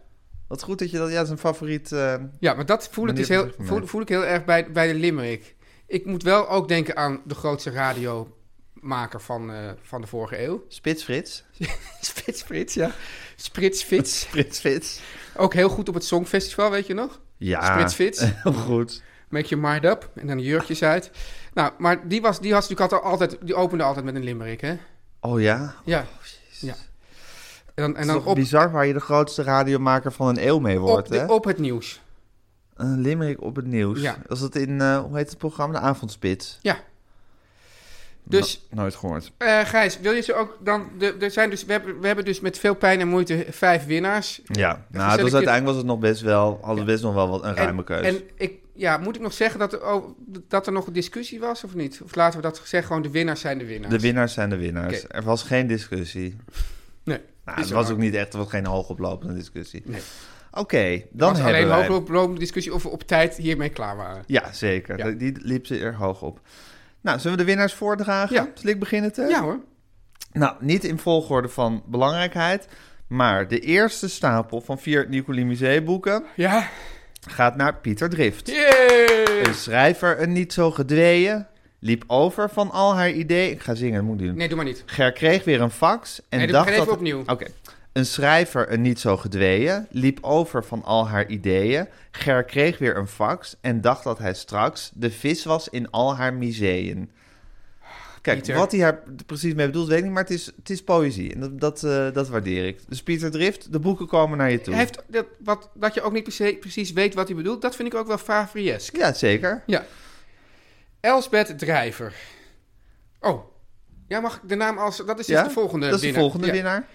B: Wat goed dat je dat... Ja, dat is een favoriet... eh,
C: ja, maar dat voel ik,
B: Meneer
C: dus heel,
B: Verbrugge,
C: voel,
B: nee.
C: voel ik heel erg bij, bij de limerick. Ik moet wel ook denken aan de grootste radiomaker van, eh, van de vorige eeuw.
B: Spits Frits.
C: Spits Frits, ja. Sprits Fits.
B: Frits Frits.
C: Ook heel goed op het Songfestival, weet je nog?
B: Ja.
C: Spits Frits.
B: Heel goed.
C: Make your mind up. En dan de jurkjes
B: Ah.
C: uit. Nou, maar die, was, die, had natuurlijk altijd- altijd, die opende altijd met een limerick, hè?
B: Oh ja.
C: Ja. ja. En dan, en
B: Het is
C: dan
B: toch
C: op,
B: bizar waar je de grootste radiomaker van een eeuw mee wordt,
C: op, de-
B: hè?
C: op het nieuws.
B: Een limerick op het nieuws.
C: Ja.
B: Was dat in, eh, hoe heet het programma? De Avondspits.
C: Ja. Dus
B: No- nooit gehoord.
C: eh, Gijs, wil je ze ook dan... de- Er zijn dus, we, hebben, we hebben dus met veel pijn en moeite vijf winnaars.
B: Ja. Nou, het was,
C: geselecteerd-
B: uiteindelijk was het nog best wel, had het best nog wel wat een ruime
C: En,
B: keus.
C: en ik, ja, moet ik nog zeggen dat er, oh, dat er nog een discussie was of niet? Of laten we dat zeggen, gewoon de winnaars zijn de winnaars.
B: de winnaars zijn de winnaars.
C: Oké.
B: Er was geen discussie.
C: Nee,
B: Nou,
C: is
B: het
C: er
B: was ook niet echt, er was geen hoogoplopende discussie.
C: Nee.
B: Oké, dan
C: was
B: hebben
C: alleen
B: wij...
C: hooplopende discussie of we op tijd hiermee klaar waren.
B: Ja, zeker.
C: Ja.
B: Die liep ze er hoog op. Nou, zullen we de winnaars voordragen?
C: Ja.
B: Zal ik beginnen, Teun?
C: Ja hoor.
B: Nou, niet in volgorde van belangrijkheid, maar de eerste stapel van vier Nicoli Musee-boeken
C: Ja.
B: gaat naar Pieter Drift.
C: Yay!
B: Een schrijver, een niet zo gedweeën, liep over van al haar ideeën... Ik ga zingen, dat moet ik niet doen.
C: Nee, doe maar niet.
B: Ger kreeg weer een fax en
C: Nee, doe
B: dacht
C: maar even
B: dat...
C: opnieuw.
B: Oké. Een schrijver, een niet zo gedweeën, liep over van al haar ideeën. Ger kreeg weer een fax en dacht dat hij straks de vis was in al haar museeën. Kijk,
C: Pieter.
B: wat hij daar precies mee bedoelt, weet ik niet, maar het is, het is poëzie. En dat, dat, eh, dat waardeer ik. Dus Pieter Drift, de boeken komen naar je toe.
C: Hij heeft dat, wat, dat je ook niet per se precies weet wat hij bedoelt, dat vind ik ook wel favriesk.
B: Ja, zeker.
C: Ja. Elsbeth Drijver. Oh. Ja, mag ik de naam als... Dat is dus
B: ja?
C: de volgende
B: Dat is de
C: winnaar.
B: volgende
C: Ja.
B: winnaar.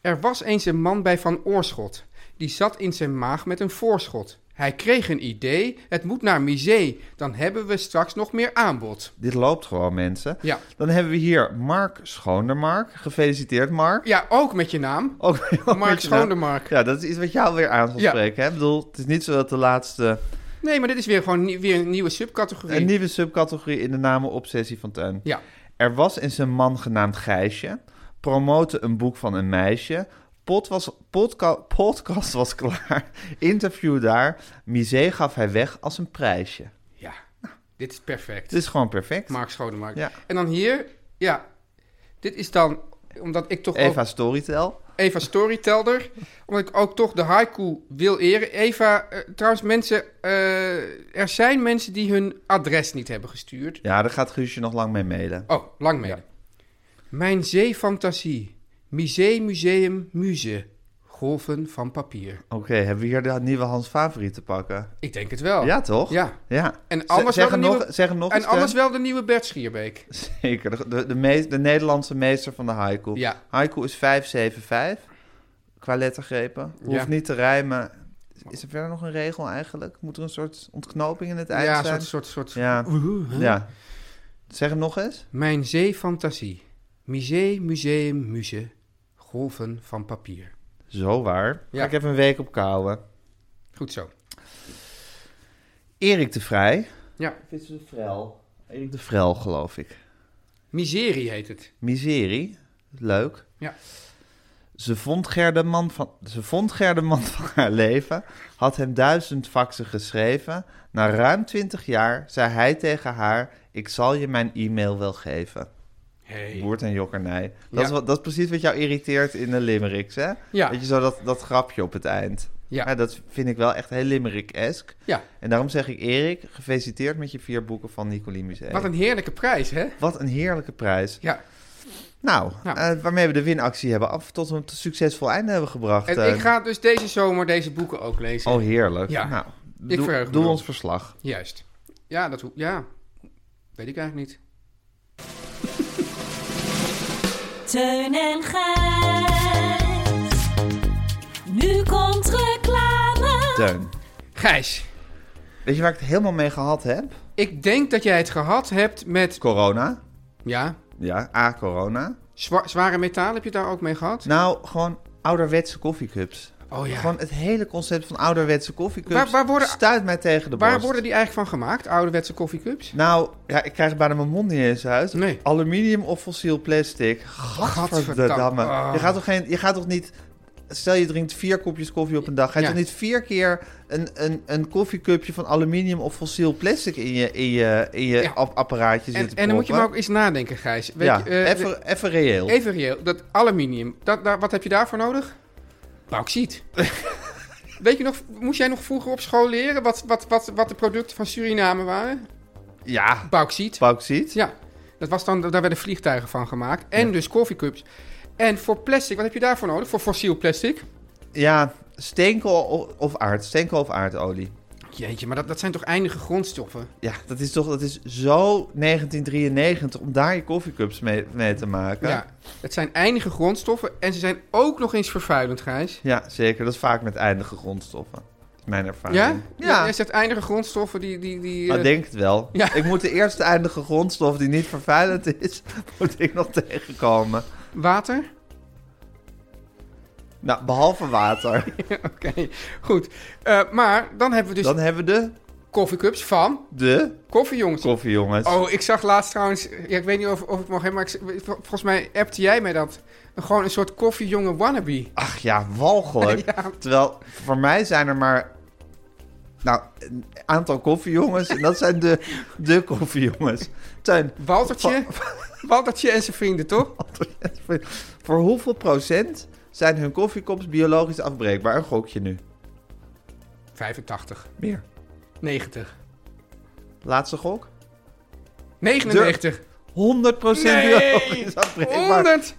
C: Er was eens een man bij Van Oorschot. Die zat in zijn maag met een voorschot. Hij kreeg een idee. Het moet naar Misee. Dan hebben we straks nog meer aanbod.
B: Dit loopt gewoon, mensen.
C: Ja.
B: Dan hebben we hier Mark Schoondermark. Gefeliciteerd, Mark.
C: Ja, ook met je naam.
B: Ook ook
C: Mark
B: met je naam.
C: Schoondermark.
B: Ja, dat is iets wat jou weer aan zal
C: Ja.
B: spreken. Hè? Ik bedoel, het is niet zo dat de laatste...
C: Nee, maar dit is weer gewoon nie- weer een nieuwe subcategorie.
B: Een nieuwe subcategorie in de namenobsessie van Tuin.
C: Ja.
B: Er was eens een man genaamd Gijsje. Promote een boek van een meisje. Pot was, podca- podcast was klaar. Interview daar. Misé gaf hij weg als een prijsje.
C: Ja. Dit is perfect.
B: Het is gewoon perfect.
C: Mark Schoonenmark.
B: Ja.
C: En dan hier, ja, dit is dan, omdat ik toch
B: Eva
C: ook
B: Storytel.
C: Eva Storytelder, omdat ik ook toch de haiku wil eren. Eva, eh, trouwens mensen, eh, er zijn mensen die hun adres niet hebben gestuurd.
B: Ja, daar gaat Guusje nog lang mee mailen.
C: Oh, lang mee. Mijn zeefantasie, misee, museum, muze, golven van papier.
B: Oké, hebben we hier de nieuwe Hans Favoriet te pakken?
C: Ik denk het wel.
B: Ja, toch?
C: Oh. Ja.
B: ja.
C: En anders,
B: zeg
C: wel, de
B: nog,
C: nieuwe,
B: zeg nog
C: en
B: eens, Teun.
C: anders wel de nieuwe Bert Schierbeek.
B: Zeker, de, de, de, mees- de Nederlandse meester van de haiku.
C: Ja.
B: Haiku is 575 qua lettergrepen. Hoeft
C: Ja.
B: niet te rijmen. Is er verder nog een regel eigenlijk? Moet er een soort ontknoping in het eind
C: ja,
B: zijn?
C: soort, soort, soort.
B: Ja, ja. Zeg hem nog eens.
C: Mijn zeefantasie. Musee, museum, muze. Golven van papier.
B: Zo waar.
C: Ja.
B: Ga ik even een week op kouwen.
C: Goed zo.
B: Erik de Vrij.
C: Ja.
B: Of is het de Vrel? Erik de Vrel, geloof ik.
C: Miserie heet het.
B: Miserie. Leuk.
C: Ja.
B: Ze vond, Ger de man van, ze vond Ger de man van haar leven, had hem duizend faxen geschreven. Na ruim twintig jaar zei hij tegen haar, ik zal je mijn e-mail wel geven.
C: Hey.
B: Woord en jokkernij. Dat,
C: Ja.
B: is wat, dat is precies wat jou irriteert in de limericks, hè?
C: Ja.
B: Dat je zo dat, dat grapje op het eind.
C: Ja.
B: dat vind ik wel echt heel limerick-esk.
C: Ja.
B: En daarom zeg ik, Erik, gefeliciteerd met je vier boeken van Nicolie Museum.
C: Wat een heerlijke prijs, hè?
B: wat een heerlijke prijs.
C: Ja.
B: Nou,
C: Nou.
B: eh, waarmee we de winactie hebben af tot we hem tot succesvol einde hebben gebracht.
C: En
B: eh.
C: ik ga dus deze zomer deze boeken ook lezen.
B: Oh, heerlijk.
C: Ja.
B: Nou,
C: Ik
B: doe,
C: verheug me
B: doe
C: erop.
B: ons verslag.
C: Juist. Ja, dat hoe. Ja. Weet ik eigenlijk niet.
E: Teun en Gijs. Nu komt reclame.
B: Teun,
C: Gijs,
B: weet je waar ik het helemaal mee gehad heb?
C: ik denk dat jij het gehad hebt met.
B: Corona.
C: Ja.
B: Ja, A, corona.
C: zwa- zware metaal heb je daar ook mee gehad?
B: Nou, gewoon ouderwetse koffiecups.
C: Oh ja.
B: Gewoon het hele concept van ouderwetse koffiecups
C: Waar- waar worden-
B: stuit mij tegen de
C: Waar
B: borst.
C: worden die eigenlijk van gemaakt? Ouderwetse koffiecups?
B: Nou, ja, ik krijg bijna mijn mond niet eens uit.
C: Nee.
B: Aluminium of fossiel plastic. Gadverdamme.
C: Ah.
B: Je, gaat toch geen, je gaat toch niet Stel je drinkt vier kopjes koffie op een dag. Ga je
C: Ja.
B: toch niet vier keer een, een, een koffiecupje van aluminium of fossiel plastic in je, in je, in je
C: Ja.
B: ap- apparaatje
C: En,
B: zitten
C: en dan moet je maar ook
B: proppen?
C: eens nadenken, Gijs. Weet
B: Ja,
C: je, eh,
B: even, even reëel.
C: even reëel, dat aluminium, dat, daar, wat heb je daarvoor nodig? Bauxiet. Weet je nog, moest jij nog vroeger op school leren wat, wat, wat, wat de producten van Suriname waren?
B: Ja,
C: Bauxiet.
B: bauxiet.
C: Ja, dat was dan, daar werden vliegtuigen van gemaakt. En dus koffiecups. En voor plastic, wat heb je daarvoor nodig? Voor fossiel plastic?
B: Ja, steenkool o- of aard. Steenkool of aardolie.
C: Jeetje, maar dat, dat zijn toch eindige grondstoffen?
B: Ja, dat is toch dat is zo 1993 om daar je koffiecups mee, mee te maken.
C: Ja. Het zijn eindige grondstoffen en ze zijn ook nog eens vervuilend, Gijs.
B: Ja, zeker. Dat is vaak met eindige grondstoffen. Is mijn ervaring.
C: Ja?
B: Ja.
C: Jij zegt eindige grondstoffen die... die, die
B: Maar
C: eh,
B: denk het wel.
C: Ja.
B: Ik moet de eerste eindige grondstof die niet vervuilend is, moet ik nog tegenkomen.
C: Water?
B: Nou, behalve water.
C: Oké, goed. Eh, maar dan hebben we dus
B: Dan hebben we de,
C: koffiecups van
B: de
C: koffiejongens.
B: koffie, jongens.
C: Oh, ik zag laatst trouwens, ja, ik weet niet of, of ik mag hebben, maar ik, vol- volgens mij appte jij mij dat. Gewoon een soort koffiejongen wannabe.
B: Ach ja, walgelijk. Terwijl, voor mij zijn er maar... Nou, een aantal koffiejongens. En dat zijn de, de koffiejongens. Tuin,
C: Waltertje. Waltertje en zijn vrienden, toch?
B: voor hoeveel procent zijn hun koffiekops biologisch afbreekbaar? Een gokje nu.
C: 85.
B: Meer.
C: 90.
B: Laatste gok?
C: 99.
B: 100% biologisch afbreekbaar.
C: 100.
B: 100%.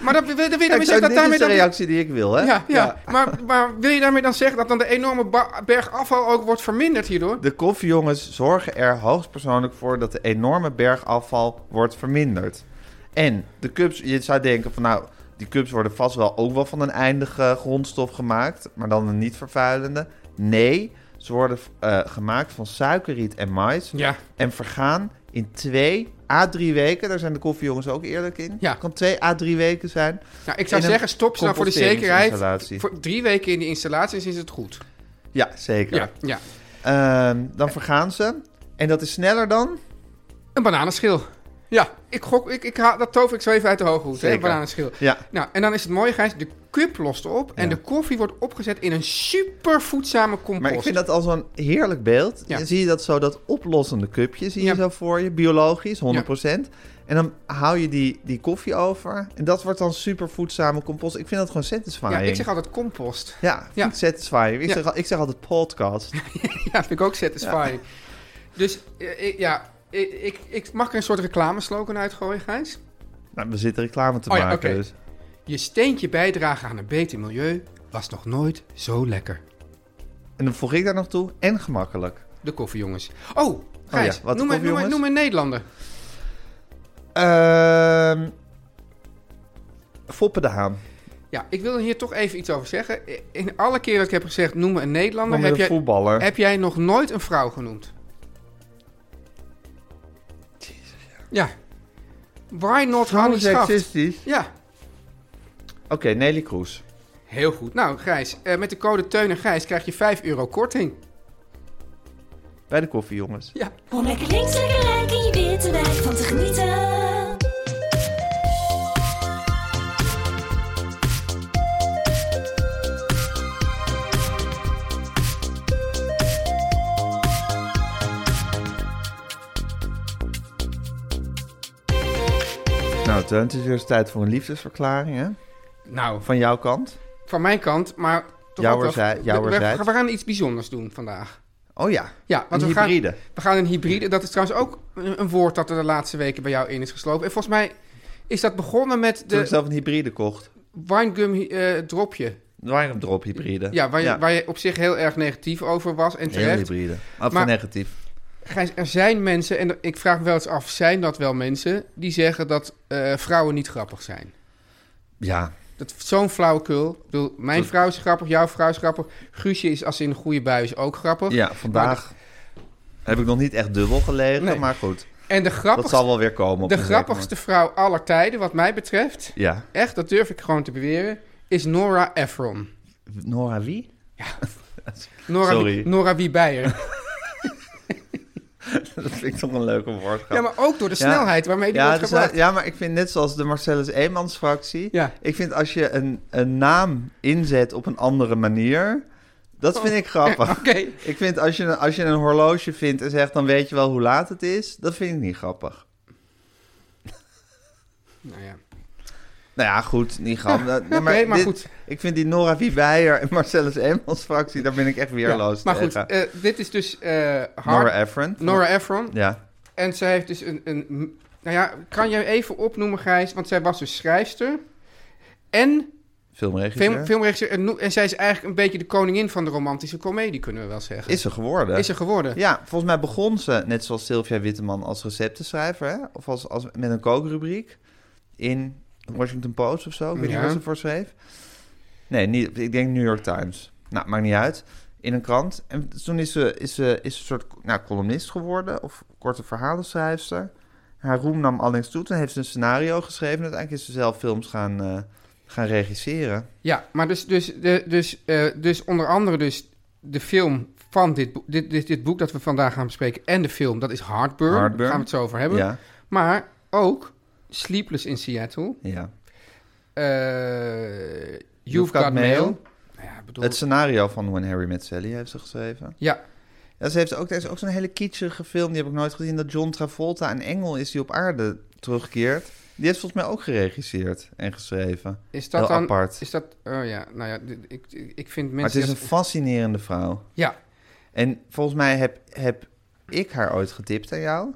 C: Maar dat, wil wil je
B: Kijk,
C: daarmee
B: zo,
C: zeggen dat
B: dit
C: daarmee...
B: is de
C: dan-
B: reactie die ik wil, hè?
C: Ja, ja. Maar, maar wil je daarmee dan zeggen dat dan de enorme ba- berg afval ook wordt verminderd hierdoor?
B: De koffiejongens zorgen er hoogstpersoonlijk voor dat de enorme bergafval wordt verminderd. En de cups, je zou denken van nou, die cups worden vast wel ook wel van een eindige grondstof gemaakt, maar dan een niet vervuilende. Nee, ze worden eh, gemaakt van suikerriet en mais
C: Ja.
B: en vergaan in twee à drie weken. Daar zijn de koffiejongens ook eerlijk in.
C: Ja.
B: Kan twee à drie weken zijn.
C: Nou, ik zou
B: In een
C: zeggen, stop ze nou voor de zekerheid.
B: composteringsinstallatie.
C: Voor drie weken in die installaties is het goed.
B: Ja, zeker.
C: Ja, ja.
B: Ehm, dan vergaan ze. En dat is sneller dan?
C: Een bananenschil. Ja, ik gok, ik, ik haal, dat tover ik zo even uit de hoge hoed, hè, een
B: Zeker.
C: bananenschil.
B: Ja.
C: Nou, en dan is het mooie, Gijs, de cup lost op en
B: Ja.
C: de koffie wordt opgezet in een super voedzame compost.
B: Maar ik vind dat al zo'n heerlijk beeld.
C: Ja.
B: Dan Zie je dat zo, dat oplossende cupje zie je
C: Ja.
B: zo voor je, biologisch, 100%. En dan hou je die, die koffie over en dat wordt dan super voedzame compost. Ik vind dat gewoon satisfying.
C: Ja, ik zeg altijd compost.
B: Ja, vind
C: Ja.
B: ik satisfying. Ik,
C: Ja.
B: zeg, al- ik zeg altijd podcast.
C: Ja, vind ik ook satisfying. Dus eh, ik- ja, ik, ik, ik- mag er een soort reclameslogan uitgooien, Gijs?
B: nou, we zitten reclame te
C: Oh ja,
B: maken
C: oké.
B: dus.
C: Je steentje bijdragen aan een beter milieu was nog nooit zo lekker.
B: En dan voeg ik daar nog toe, en gemakkelijk.
C: De koffiejongens. Oh, Gijs,
B: ja, wat de
C: noem, een, noem, een,
B: koffiejongens?
C: noem een Nederlander.
B: Ehm Foppe de Haan.
C: Ja, ik wil hier toch even iets over zeggen. In alle keer dat ik heb gezegd, noem me een Nederlander,
B: Noem me
C: heb
B: een
C: jij,
B: voetballer.
C: heb jij nog nooit een vrouw genoemd. ja. Why not Hanni
B: Trouwens,
C: Schaft?
B: seksistisch.
C: Ja,
B: Oké, Nelly Kroes.
C: heel goed. Nou, Gijs, eh, met de code Teun en Gijs krijg je 5 euro korting.
B: Bij de koffie, jongens.
C: Ja.
E: Om lekker links, lekker rijk in je witte wijk van te genieten.
B: Nou, Teun, het is weer eens tijd voor een liefdesverklaring, hè?
C: Nou,
B: Van jouw kant?
C: van mijn kant, maar... toch
B: Jouwer
C: ook wel-
B: zij- jouwer
C: we,
B: zijt.
C: we, we gaan iets bijzonders doen vandaag.
B: Oh ja.
C: Ja, want
B: een
C: we
B: hybride.
C: Gaan, we gaan een hybride. Dat is trouwens ook een een woord dat er de laatste weken bij jou in is geslopen. En volgens mij is dat begonnen met
B: Toen ik
C: de
B: zelf een hybride kocht.
C: winegum eh, dropje.
B: Wine drop hybride.
C: Ja, waar, Je, waar je op zich heel erg negatief over was en
B: Heel
C: terecht.
B: hybride. Af
C: Maar-
B: negatief.
C: Gijs, er zijn mensen, en ik vraag me wel eens af, zijn dat wel mensen die zeggen dat eh, vrouwen niet grappig zijn?
B: Ja.
C: Dat zo'n flauwekul. Ik bedoel, mijn vrouw is grappig, jouw vrouw is grappig. Guusje is als ze in een goede bui is ook grappig.
B: Ja, vandaag heb ik nog niet echt dubbel gelegen,
C: Nee.
B: maar goed.
C: En de
B: Dat
C: grappigste,
B: zal wel weer komen. Op
C: de
B: een zeker
C: grappigste vrouw aller tijden, wat mij betreft,
B: moment. Ja.
C: echt, dat durf ik gewoon te beweren, is Nora Ephron.
B: Nora wie?
C: Nora,
B: Sorry.
C: Wie, Nora Wie Beijer.
B: dat vind ik toch een leuke woordgrap.
C: Ja, maar ook door de
B: Ja.
C: snelheid waarmee die
B: ja,
C: wordt
B: dus,
C: gebruikt.
B: Ja, maar ik vind net zoals de Marcellus Eemans-fractie...
C: Ja.
B: Ik vind als je een, een naam inzet op een andere manier... Dat vind ik grappig.
C: Oh. Oké.
B: Ik vind als je, een- als je een horloge vindt en zegt... dan weet je wel hoe laat het is. Dat vind ik niet grappig.
C: Nou ja.
B: Nou ja, goed, niet grappig. Nee,
C: oké, maar
B: dit-
C: goed.
B: Ik vind die Nora Wiebeyer en Marcellus Eemans-fractie... daar ben ik echt weerloos
C: maar goed,
B: tegen.
C: eh, dit is dus eh hard.
B: Nora Ephron.
C: Nora Ephron.
B: Ja.
C: En zij heeft dus een, een... Nou ja, kan jij even opnoemen, Gijs? Want zij was dus schrijfster. En
B: Filmregisseur.
C: film, filmregisseur. En, no- en zij is eigenlijk een beetje de koningin van de romantische komedie, kunnen we wel zeggen.
B: Is ze geworden.
C: Is ze geworden.
B: Ja, volgens mij begon ze, net zoals Sylvia Witteman, als receptenschrijver. Hè? Of als, als, met een kookrubriek in Washington Post of zo. Ik weet niet
C: Ja.
B: waar ze voor schreef. Nee, niet, ik denk New York Times. Nou, maakt niet uit. In een krant. En toen is ze, is ze, is ze een soort nou, columnist geworden. Of korte verhalenschrijfster. Haar roem nam allengs toe. Toen heeft ze een scenario geschreven. En uiteindelijk is ze zelf films gaan, eh, gaan regisseren.
C: Ja, maar dus, dus, de, dus, eh, dus onder andere dus de film van dit, boek- dit, dit, dit boek dat we vandaag gaan bespreken... en de film, dat is Heartburn.
B: Heartburn.
C: Daar gaan we het zo over hebben.
B: Ja,
C: Maar ook Sleepless in Seattle.
B: ja.
C: eh, You've,
B: You've
C: Got,
B: Got
C: Mail.
B: Mail.
C: Nou ja, ik bedoel,
B: Het scenario van When Harry Met Sally heeft ze geschreven.
C: ja,
B: Ja, ze heeft ook, er is ook zo'n hele kietschige film, die heb ik nooit gezien, dat John Travolta een engel is die op aarde terugkeert. Die heeft volgens mij ook geregisseerd en geschreven.
C: is dat
B: Heel
C: dan...
B: apart.
C: Is dat... Oh ja, nou ja, dit- ik, ik- ik vind mensen...
B: Maar het is
C: die
B: een
C: dat-
B: fascinerende vrouw.
C: Ja,
B: En volgens mij heb, heb ik haar ooit getipt aan jou.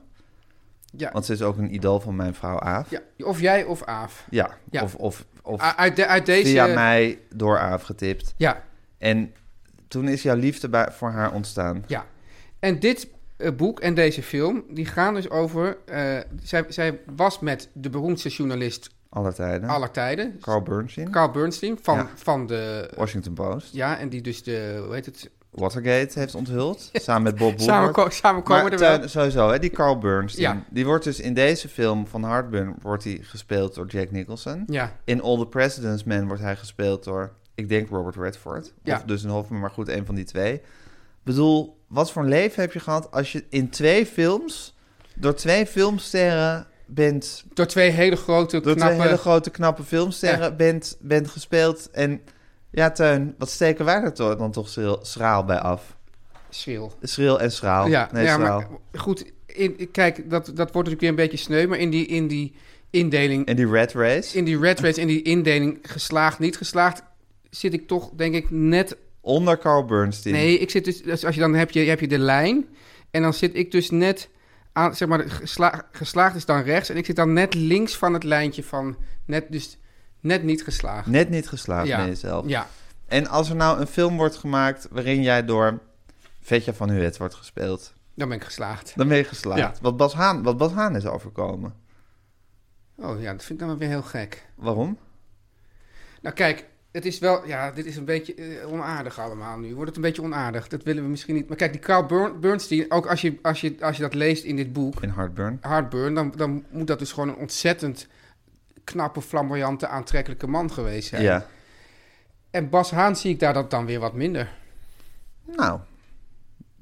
C: ja,
B: Want ze is ook een idool van mijn vrouw Aaf.
C: ja. Of jij of Aaf.
B: Ja,
C: Ja. Ah,
B: of, of, of
C: U- Uit, de, uit deze...
B: via mij door Aaf getipt.
C: Ja,
B: En toen is jouw liefde bij- voor haar ontstaan.
C: ja. En dit eh, boek en deze film, die gaan dus over... eh, zij, zij was met de beroemdste journalist
B: Alle tijden.
C: aller tijden.
B: Carl Bernstein,
C: Carl Bernstein van,
B: Ja.
C: van de...
B: Washington Post.
C: Ja, en die dus de... Hoe heet het?
B: Watergate heeft onthuld. Samen met Bob Woodward.
C: Samen, ko- samen komen
B: maar
C: er wel...
B: tuin- sowieso, hè, die Carl Burns. Die,
C: Ja.
B: die wordt dus in deze film van Heartburn wordt hij gespeeld door Jack Nicholson.
C: Ja,
B: In All the President's Men wordt hij gespeeld door, ik denk Robert Redford.
C: Ja.
B: Of dus een Hoffman, maar goed, een van die twee. Ik bedoel, wat voor een leven heb je gehad als je in twee films, door twee filmsterren bent,
C: door twee hele grote,
B: door
C: knappe...
B: twee hele grote knappe filmsterren
C: Ja.
B: bent, bent gespeeld. En ja, Teun, wat steken wij er to- dan toch schril- schraal bij af?
C: Schril.
B: Schril en schraal.
C: Ja,
B: Oh, nee,
C: ja
B: schraal.
C: maar goed, in, kijk, dat, dat wordt natuurlijk weer een beetje sneu, maar in die, in die indeling,
B: En die Red Race.
C: in die red race, in die indeling geslaagd, niet geslaagd, zit ik toch denk ik net...
B: Onder Carl Bernstein.
C: Nee, ik zit dus, dus als je dan heb je, heb je de lijn en dan zit ik dus net aan, zeg maar, gesla- geslaagd is dan rechts en ik zit dan net links van het lijntje van net, dus net niet geslaagd.
B: Net niet geslaagd
C: ja,
B: bij jezelf.
C: Ja,
B: En als er nou een film wordt gemaakt waarin jij door Vetja van Huet wordt gespeeld,
C: dan ben ik geslaagd.
B: dan ben je geslaagd.
C: Ja.
B: Wat, Bas Haan, wat Bas Haan is overkomen.
C: Oh ja, dat vind ik dan wel weer heel gek.
B: Waarom?
C: Nou kijk, het is wel, ja, dit is een beetje eh, onaardig allemaal nu. Wordt het een beetje onaardig? Dat willen we misschien niet. Maar kijk, die Carl Burn- Bernstein, ook als je, als, je, als je dat leest in dit boek,
B: In Heartburn.
C: Heartburn, dan, dan moet dat dus gewoon een ontzettend knappe, flamboyante, aantrekkelijke man geweest
B: Ja.
C: zijn. En Bas Haan zie ik daar dat dan weer wat minder.
B: Nou.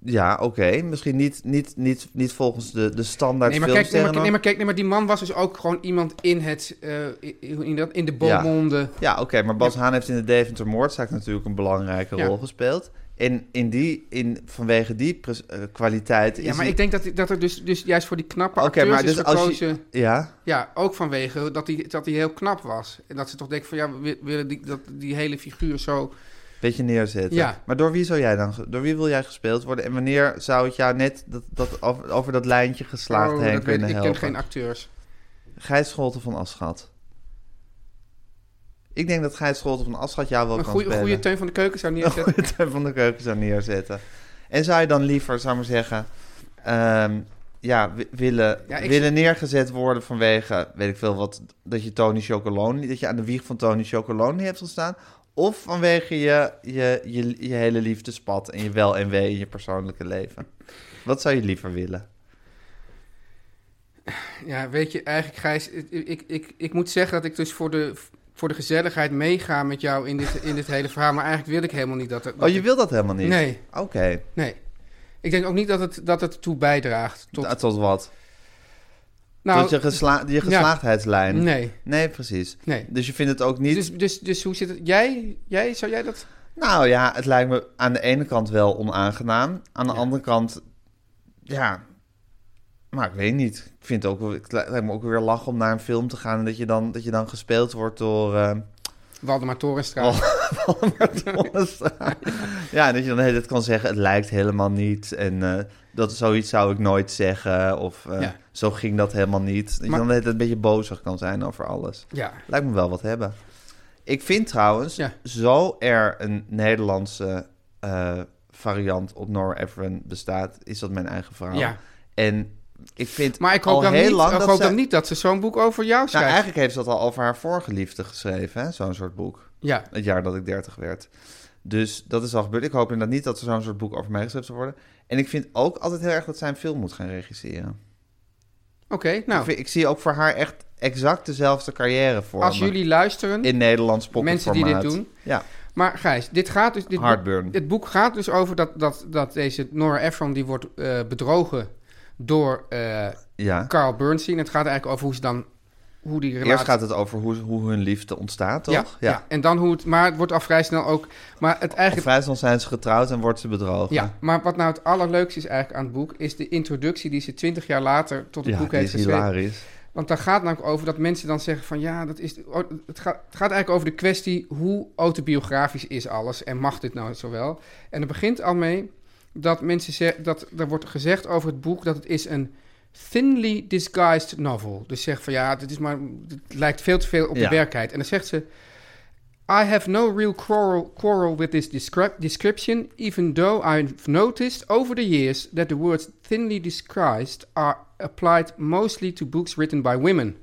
B: Ja, oké. Misschien niet, niet, niet, niet volgens de, de standaard
C: Nee maar, kijk, nee, maar,
B: filmsterren
C: nee,
B: dan.
C: maar kijk, nee, maar die man was dus ook gewoon iemand in het, eh, in, in dat- in de
B: Ja.
C: beaumonde.
B: Ja, oké. maar Bas Haan heeft in de Deventer moordzaak natuurlijk een belangrijke
C: Ja.
B: rol gespeeld. En in die, in, vanwege die pres- eh, kwaliteit
C: Ja,
B: is
C: maar
B: hij-
C: ik denk dat, dat er dus, dus juist voor die knappe
B: Oké,
C: acteurs
B: maar
C: is
B: dus als
C: gekozen.
B: je... Ja?
C: Ja, ook vanwege dat hij, dat hij heel knap was. En dat ze toch denken van ja, we wi- willen die, dat, die hele figuur zo...
B: Beetje neerzetten.
C: Ja.
B: Maar door wie, zou jij dan, ge- door wie wil jij gespeeld worden? En wanneer zou het jou net dat, dat, over, over dat lijntje geslaagd
C: Oh,
B: heen
C: dat weet ik,
B: kunnen
C: ik ken
B: helpen?
C: geen acteurs.
B: Gijs Scholten van Aschat. Ik denk dat Gijs Scholten van Aschat jou wel
C: Een
B: kan
C: goede,
B: spelen.
C: goede teun van de keuken zou
B: Een
C: neerzetten.
B: goede Teun van de keuken zou neerzetten. En zou je dan liever, zou ik maar zeggen... ehm, ja, wi- willen,
C: Ja, ik-
B: willen neergezet worden vanwege, weet ik veel wat, dat je Tony Chocolonely, dat je aan de wieg van Tony Chocolonely hebt gestaan. Of vanwege je, je, je, je hele liefdespad en je wel en wee in je persoonlijke leven. Wat zou je liever willen?
C: Ja, weet je, eigenlijk Gijs, ik, ik, ik, ik moet zeggen dat ik dus voor de, voor de gezelligheid meega met jou in dit, in dit hele verhaal. Maar eigenlijk wil ik helemaal niet dat... er- dat
B: Oh, je
C: ik-
B: wil dat helemaal niet?
C: Nee.
B: Oké.
C: Nee. Ik denk ook niet dat het, dat het toe bijdraagt. Tot,
B: Nou, Tot wat?
C: nou,
B: tot je, gesla je geslaagdheidslijn.
C: nee.
B: Nee, precies.
C: Nee.
B: Dus je vindt het ook niet...
C: Dus, dus, dus hoe zit het? Jij, jij zou jij dat?
B: Nou ja, het lijkt me aan de ene kant wel onaangenaam. Aan de andere kant, ja... Maar ik weet niet. Ik vind het, ook, wel- het lijkt me ook weer lachen om naar een film te gaan... en dat je dan, dat je dan gespeeld wordt door... eh,
C: Waldemar Torenstra.
B: Donnerstraat. ja, dat je dan de hele tijd kan zeggen, het lijkt helemaal niet. En eh, dat zoiets zou ik nooit zeggen. Of eh,
C: Ja.
B: zo ging dat helemaal niet. Dat je
C: Maar-
B: dan de hele tijd een beetje bozig kan zijn over alles.
C: Ja.
B: Lijkt me wel wat hebben. Ik vind trouwens,
C: Ja.
B: zo er een Nederlandse eh, variant op Nora Ephron bestaat, is dat mijn eigen verhaal.
C: Ja.
B: En ik vind
C: Maar ik
B: al
C: hoop, dan
B: heel
C: niet,
B: lang
C: ik
B: dat
C: hoop
B: zij-
C: dan niet dat ze zo'n boek over jou
B: Nou,
C: schrijft.
B: eigenlijk heeft ze dat al over haar voorgeliefde geschreven, hè? zo'n soort boek
C: Ja.
B: het jaar dat ik 30 werd. Dus dat is al gebeurd. Ik hoop inderdaad niet dat er zo'n soort boek over mij geschreven zal worden. En ik vind ook altijd heel erg dat zij een film moet gaan regisseren.
C: Oké,
B: Ik,
C: nou.
B: vind- ik zie ook voor haar echt exact dezelfde carrière voor
C: Als jullie luisteren.
B: Oh, in Nederlands
C: mensen die
B: pocketformaat.
C: dit doen.
B: Ja,
C: Maar Gijs, dit gaat dus. Dit
B: Heartburn.
C: Boek, het boek gaat dus over dat, dat, dat deze Nora Ephron die wordt eh, bedrogen door eh,
B: ja.
C: Carl Bernstein. Het gaat eigenlijk over hoe ze dan hoe die relatie.
B: Eerst gaat het over hoe, hoe hun liefde ontstaat, toch?
C: ja, ja. En dan hoe het. Maar het wordt al vrij snel ook. Maar het
B: Of
C: eigenlijk.
B: vrij snel zijn ze getrouwd en wordt ze bedrogen.
C: Ja, maar wat nou het allerleukste is eigenlijk aan het boek, is de introductie die ze twintig jaar later tot het
B: Ja,
C: boek
B: die
C: heeft
B: is
C: geschreven.
B: hilarisch.
C: Want daar gaat het namelijk over dat mensen dan zeggen van ja, dat is, oh, het, gaat, het gaat eigenlijk over de kwestie hoe autobiografisch is alles en mag dit nou zowel. En het begint al mee dat mensen zeggen, dat er wordt gezegd over het boek dat het is een thinly disguised novel. Dus zeg van ja, dit is maar, het lijkt veel te veel op
B: Ja.
C: de werkelijkheid. En dan zegt ze, I have no real quarrel, quarrel with this descri- description, even though I've noticed over the years that the words thinly disguised are applied mostly to books written by women.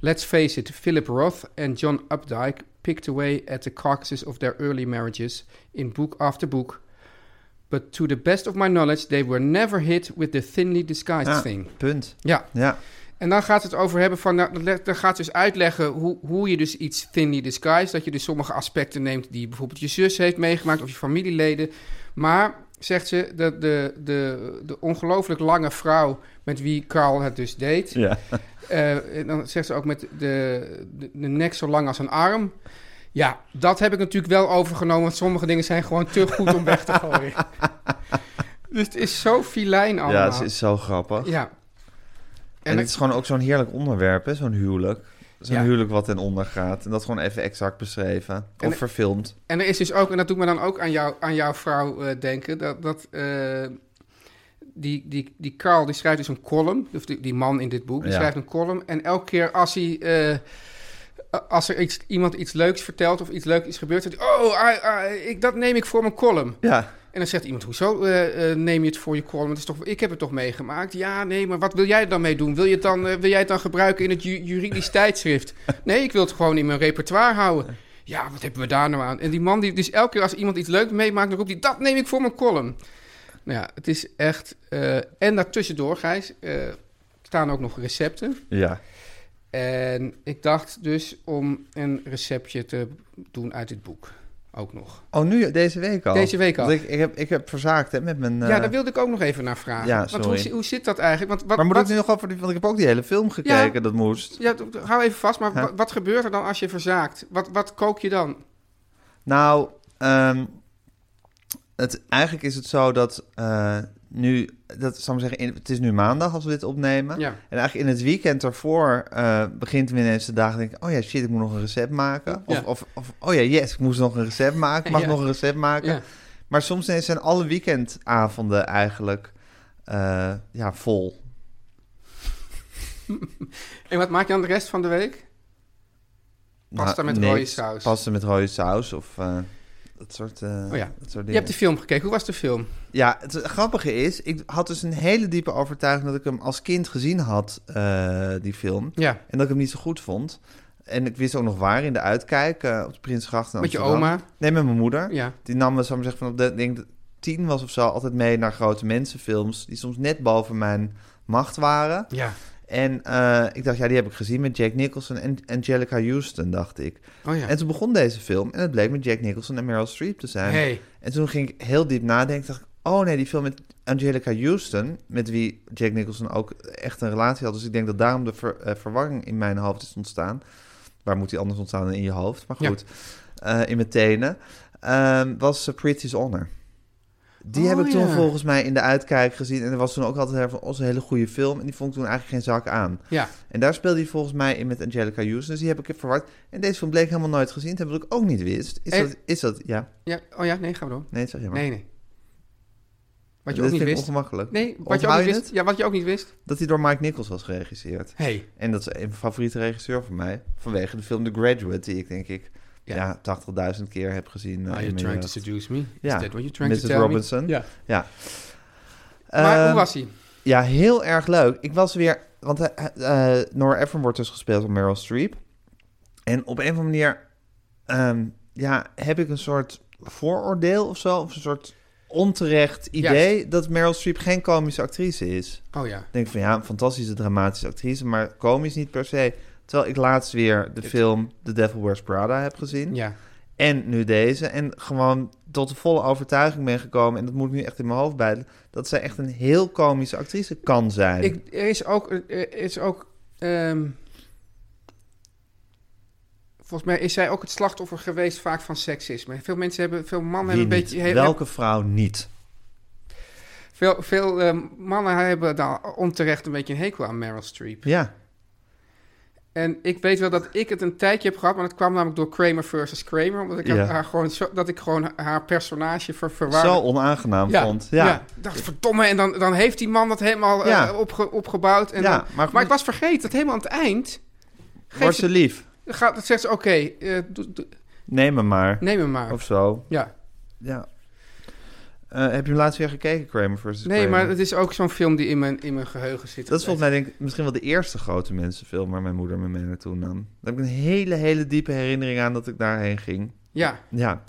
C: Let's face it, Philip Roth and John Updike picked away at the carcasses of their early marriages in book after book. But to the best of my knowledge, they were never hit with the thinly disguised
B: Ja,
C: thing.
B: punt.
C: Ja,
B: Ja.
C: en dan gaat het over hebben van, nou, dat le- dan gaat dus uitleggen hoe, hoe je dus iets thinly disguised, dat je dus sommige aspecten neemt die bijvoorbeeld je zus heeft meegemaakt of je familieleden. Maar, zegt ze, de, de, de, de ongelooflijk lange vrouw met wie Carl het dus deed,
B: ja.
C: eh, en dan zegt ze ook met de, de, de nek zo lang als een arm. Ja, dat heb ik natuurlijk wel overgenomen, want sommige dingen zijn gewoon te goed om weg te gooien. dus het is zo filijn allemaal.
B: Ja, het is zo grappig.
C: Ja.
B: En, het is gewoon ook zo'n heerlijk onderwerp, hè, zo'n huwelijk. Zo'n
C: Ja.
B: huwelijk wat ten onder gaat. En dat gewoon even exact beschreven. Of
C: En-
B: verfilmd.
C: En er is dus ook, en dat doet me dan ook aan, jou, aan jouw vrouw eh, denken, dat, dat eh, die, die, die Carl die schrijft dus een column, of die, die man in dit boek, die
B: Ja.
C: schrijft een column. En elke keer als hij, eh, als er iets, iemand iets leuks vertelt of iets leuks is gebeurd, zegt hij, oh, ah, ah, ik, dat neem ik voor mijn column.
B: Ja,
C: En dan zegt iemand, hoezo eh, eh, neem je het voor je column? Het is toch, ik heb het toch meegemaakt? Ja, nee, maar wat wil jij er dan mee doen? Wil, je het dan, eh, wil jij het dan gebruiken in het ju- juridisch tijdschrift? Nee, ik wil het gewoon in mijn repertoire houden. Ja, wat hebben we daar nou aan? En die man, die, dus elke keer als iemand iets leuks meemaakt, dan roept hij, dat neem ik voor mijn column. Nou ja, het is echt... eh, en daartussendoor, Gijs, eh, staan ook nog recepten.
B: ja.
C: En ik dacht dus om een receptje te doen uit dit boek. Ook nog.
B: Oh, nu deze week al?
C: Deze week al.
B: Want ik, ik, heb, ik heb verzaakt hè, met mijn...
C: Ja,
B: eh,
C: daar wilde ik ook nog even naar vragen.
B: Ja,
C: Want hoe,
B: sorry.
C: zi- hoe zit dat eigenlijk? Want wat,
B: Maar moet
C: wat,
B: ik nu nog over... die- Want ik heb ook die hele film gekeken, dat moest.
C: Ja, d- d- hou even vast, maar
B: Ja.
C: wa- wat gebeurt er dan als je verzaakt? Wat, wat kook je dan?
B: Nou, ehm, het, eigenlijk is het zo dat eh, nu... Dat zou ik maar zeggen, in- het is nu maandag als we dit opnemen.
C: Ja.
B: En eigenlijk in het weekend daarvoor eh, begint weer ineens de dag. Denk ik, oh ja, shit, ik moet nog een recept maken. Of,
C: Ja.
B: of, of oh ja, yes, ik moest nog een recept maken. Ik mag
C: Ja.
B: nog een recept maken.
C: Ja.
B: Maar soms ineens zijn alle weekendavonden eigenlijk eh, ja, vol.
C: En wat maak je dan de rest van de week? Pasta met
B: niks.
C: rode saus.
B: Pasta met rode saus of eh, dat soort, eh,
C: Oh ja.
B: dat soort
C: Je
B: dingen.
C: hebt de film gekeken. Hoe was de film?
B: Ja, het grappige is, ik had dus een hele diepe overtuiging dat ik hem als kind gezien had, eh, die film.
C: Ja.
B: En dat ik hem niet zo goed vond. En ik wist ook nog waar in de uitkijk eh, op de Prinsengracht. in
C: Met je
B: Amsterdam.
C: oma?
B: Nee, met mijn moeder.
C: Ja.
B: Die nam me, zou ik maar zeggen, vanaf de, ik denk dat ik tien was of zo altijd mee naar grote mensenfilms. Die soms net boven mijn macht waren.
C: Ja.
B: En eh, ik dacht, ja, die heb ik gezien met Jack Nicholson en Angelica Houston, dacht ik.
C: Oh ja.
B: En toen begon deze film en het bleek met Jack Nicholson en Meryl Streep te zijn.
C: Hey.
B: En toen ging ik heel diep nadenken. Dacht ik, Oh nee, die film met Angelica Houston, met wie Jack Nicholson ook echt een relatie had. Dus ik denk dat daarom de ver- eh, verwarring in mijn hoofd is ontstaan. Waar moet die anders ontstaan dan in je hoofd? Maar
C: Ja.
B: goed, eh, in mijn tenen. Ehm, was eh, Pretty's Honor. Die
C: Oh,
B: heb ik toen
C: ja.
B: volgens mij in de uitkijk gezien. En er was toen ook altijd her- van, oh, is een hele goede film. En die vond ik toen eigenlijk geen zak aan.
C: Ja.
B: En daar speelde hij volgens mij in met Angelica Houston. Dus die heb ik verward. En deze film bleek helemaal nooit gezien. te hebben, Wat ik ook niet wist. Is,
C: En-
B: dat, is dat... Ja,
C: ja. Oh ja, nee, gaan we door.
B: nee, zeg je maar.
C: Eh. Nee, nee. Wat je
B: Dit
C: ook niet
B: vind ik
C: wist.
B: ongemakkelijk.
C: Nee, wat je ook
B: Onthoud
C: niet
B: je
C: wist.
B: het?
C: Ja, wat je ook niet wist.
B: Dat hij door Mike Nichols was geregisseerd.
C: Hey.
B: En dat is een favoriete regisseur van mij. Vanwege de film The Graduate, die ik denk ik
C: Ja.
B: ja. 80.000 keer heb gezien. eh,
C: Are
B: in
C: you
B: mijn
C: trying to
B: jeugd.
C: seduce me?
B: Ja.
C: Is that what you're trying
B: Mrs.
C: to tell
B: Robinson.
C: me? Ja.
B: Ja.
C: Maar
B: Ehm,
C: hoe was hij?
B: Ja, heel erg leuk. Ik was weer... Want eh eh, Nora Ephron wordt dus gespeeld door Meryl Streep. En op een of andere manier... ehm, ja, heb ik een soort vooroordeel of zo. Of een soort onterecht idee... dat Meryl Streep geen komische actrice is.
C: Oh ja.
B: Ik denk van ja, een fantastische dramatische actrice... maar komisch niet per se. Terwijl ik laatst weer de film The Devil Wears Prada heb gezien.
C: Ja.
B: En nu deze. En gewoon tot de volle overtuiging ben gekomen... en dat moet ik nu echt in mijn hoofd bijten... dat zij echt een heel komische actrice kan zijn.
C: Ik, er is ook... Er is ook ehm, volgens mij is zij ook het slachtoffer geweest vaak van seksisme. Veel mensen hebben... Veel mannen
B: Wie
C: hebben een
B: niet?
C: beetje... hebben-
B: Welke vrouw niet?
C: Veel, veel ehm, mannen hebben daar onterecht een beetje een hekel aan Meryl Streep.
B: Ja,
C: En ik weet wel dat ik het een tijdje heb gehad, maar dat kwam namelijk door Kramer versus Kramer. Omdat ik,
B: Ja.
C: haar, gewoon, zo- dat ik gewoon haar personage ver, verwaarde.
B: zo onaangenaam
C: ja,
B: vond. Ja, ja.
C: Ik dacht, verdomme, en dan, dan heeft die man dat helemaal eh,
B: Ja.
C: opge- opgebouwd. En
B: Ja,
C: dan-
B: maar
C: maar,
B: goed.
C: ik was vergeten dat helemaal aan het eind
B: wordt ze lief?
C: gaat, dat zegt ze, oké, eh, doe- doe-
B: Neem hem maar.
C: neem hem maar.
B: Of zo.
C: ja.
B: Ja. Eh, heb je hem laatst weer gekeken, Kramer versus
C: Nee,
B: Kramer?
C: maar het is ook zo'n film die in mijn, in mijn geheugen zit.
B: Dat is volgens mij denk ik misschien wel de eerste grote mensenfilm... waar mijn moeder me mee naartoe nam. Daar heb ik een hele, hele diepe herinnering aan dat ik daarheen ging.
C: Ja,
B: Ja,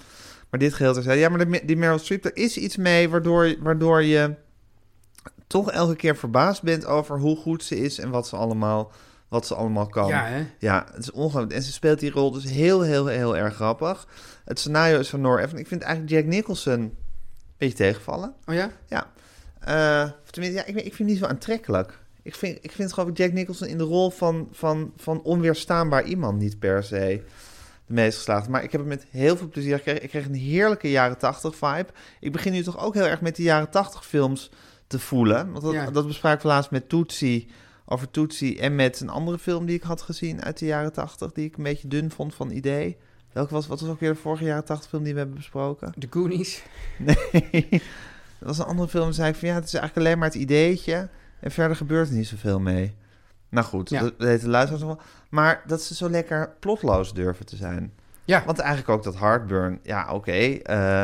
B: maar dit geheel terzijde. Ja, maar de- die Meryl Streep, er is iets mee waardoor, waardoor je toch elke keer verbaasd bent over hoe goed ze is en wat ze allemaal, wat ze allemaal kan.
C: ja hè?
B: Ja, het is ongelooflijk. En ze speelt die rol dus heel, heel, heel erg grappig. Het scenario is van Nora Ephron. Ik vind eigenlijk Jack Nicholson een beetje tegenvallen.
C: Oh ja?
B: Ja. Eh, of tenminste, ja, ik, ik vind hem niet zo aantrekkelijk. Ik vind, ik vind gewoon Jack Nicholson in de rol van, van, van onweerstaanbaar iemand niet per se de meest geslaagd. Maar ik heb hem met heel veel plezier gekregen. Ik kreeg een heerlijke jaren 80 vibe. Ik begin nu toch ook heel erg met die jaren 80 films te voelen. Want dat,
C: Ja.
B: dat bespraken we laatst met Tootsie. Over Tootsie en met een andere film die ik had gezien uit de jaren 80. Die ik een beetje dun vond van idee. Welke was, wat was ook weer de vorige jaren 80 film die we hebben besproken?
C: De Goonies.
B: Nee. Dat was een andere film. zei ik van ja, het is eigenlijk alleen maar het ideetje. En verder gebeurt er niet zoveel mee. Nou goed,
C: Ja.
B: dat weten de luisteraars nog wel. Maar dat ze zo lekker plotloos durven te zijn.
C: Ja.
B: Want eigenlijk ook dat heartburn. Ja, oké. eh,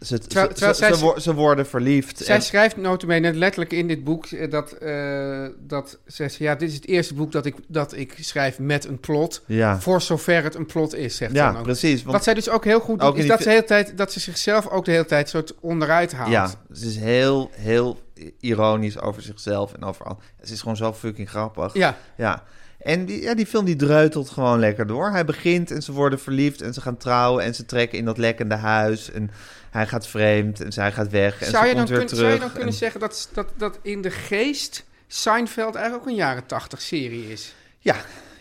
B: ze,
C: Terwijl-
B: ze- ze,
C: terwijl zij-
B: ze wo- ze worden verliefd.
C: Zij
B: en-
C: schrijft notabene net letterlijk in dit boek eh, dat, eh, dat ze zegt, ja, dit is het eerste boek dat ik, dat ik schrijf met een plot.
B: ja,
C: Voor zover het een plot is, zegt ze
B: ja
C: dan ook.
B: precies. Want
C: Wat zij dus ook heel goed doet,
B: Ook in
C: is
B: die
C: dat ze,
B: fi-
C: de hele tijd, dat ze zichzelf ook de hele tijd soort onderuit haalt.
B: ja, ze is heel, heel ironisch over zichzelf en over al. Ze is gewoon zo fucking grappig.
C: Ja,
B: Ja. En die, ja, die film die dreutelt gewoon lekker door. Hij begint en ze worden verliefd en ze gaan trouwen en ze trekken in dat lekkende huis. En hij gaat vreemd en zij gaat weg en
C: Zou,
B: ze
C: je
B: komt
C: dan
B: weer
C: kun-
B: terug.
C: zou je dan kunnen
B: en-
C: zeggen dat, dat, dat in de geest Seinfeld eigenlijk ook een jaren tachtig serie is?
B: Ja,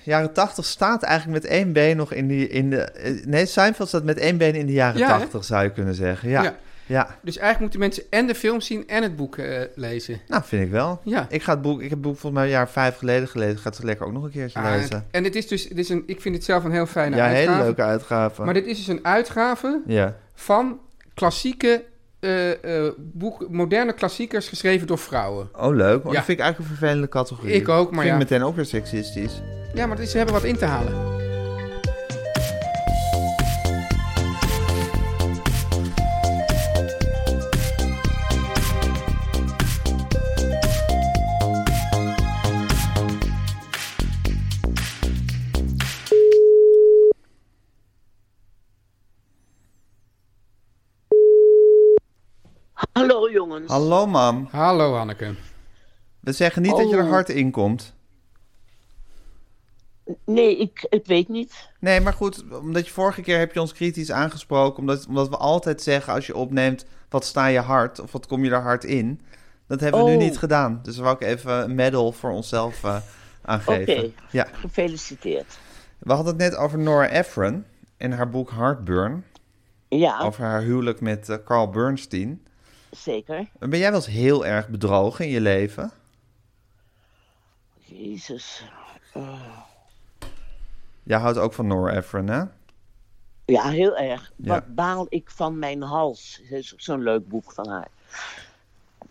B: jaren tachtig staat eigenlijk met één been nog in, die, in de... eh, Nee, Seinfeld staat met één been in de jaren
C: Ja, hè?
B: tachtig, zou je kunnen zeggen. Ja. ja.
C: Ja. Dus eigenlijk moeten mensen en de film zien en het boek eh, lezen.
B: nou vind ik wel.
C: Ja.
B: Ik, ga het boek, ik heb het boek volgens mij een jaar vijf geleden gelezen. Ik ga het zo lekker ook nog een keertje
C: Ah,
B: lezen.
C: en het is dus, het is een, ik vind het zelf een heel fijne
B: ja,
C: uitgave.
B: hele leuke uitgave.
C: Maar dit is dus een uitgave
B: Ja.
C: van klassieke eh, eh, boek, moderne klassiekers geschreven door vrouwen.
B: Oh, leuk. Oh,
C: Ja.
B: Dat vind ik eigenlijk een vervelende categorie.
C: Ik ook, maar
B: vind
C: ja.
B: ik meteen ook weer seksistisch.
C: Ja, maar ze hebben wat in te halen.
F: Hallo jongens.
B: Hallo, mam.
C: Hallo Hanneke.
F: Oh.
B: We zeggen niet dat je er hard in komt.
F: Nee, ik, ik weet niet.
B: Nee, maar goed, omdat je vorige keer heb je ons kritisch aangesproken. Omdat, omdat we altijd zeggen als je opneemt, wat sta je hard? Of wat kom je daar hard in? Dat hebben we nu
F: Oh.
B: niet gedaan. Dus wou ik even een medal voor onszelf eh,
F: Oké,
B: aangeven. Ja.
F: gefeliciteerd.
B: We hadden het net over Nora Ephron en haar boek Heartburn.
F: Ja,
B: Over haar huwelijk met eh, Carl Bernstein.
F: zeker.
B: Ben jij wel eens heel erg bedrogen in je leven?
F: Jezus.
B: Jij houdt ook van Nora Ephron, hè?
F: Ja, heel erg.
B: Ja.
F: Wat baal ik van mijn hals. Dat is ook zo'n leuk boek van haar.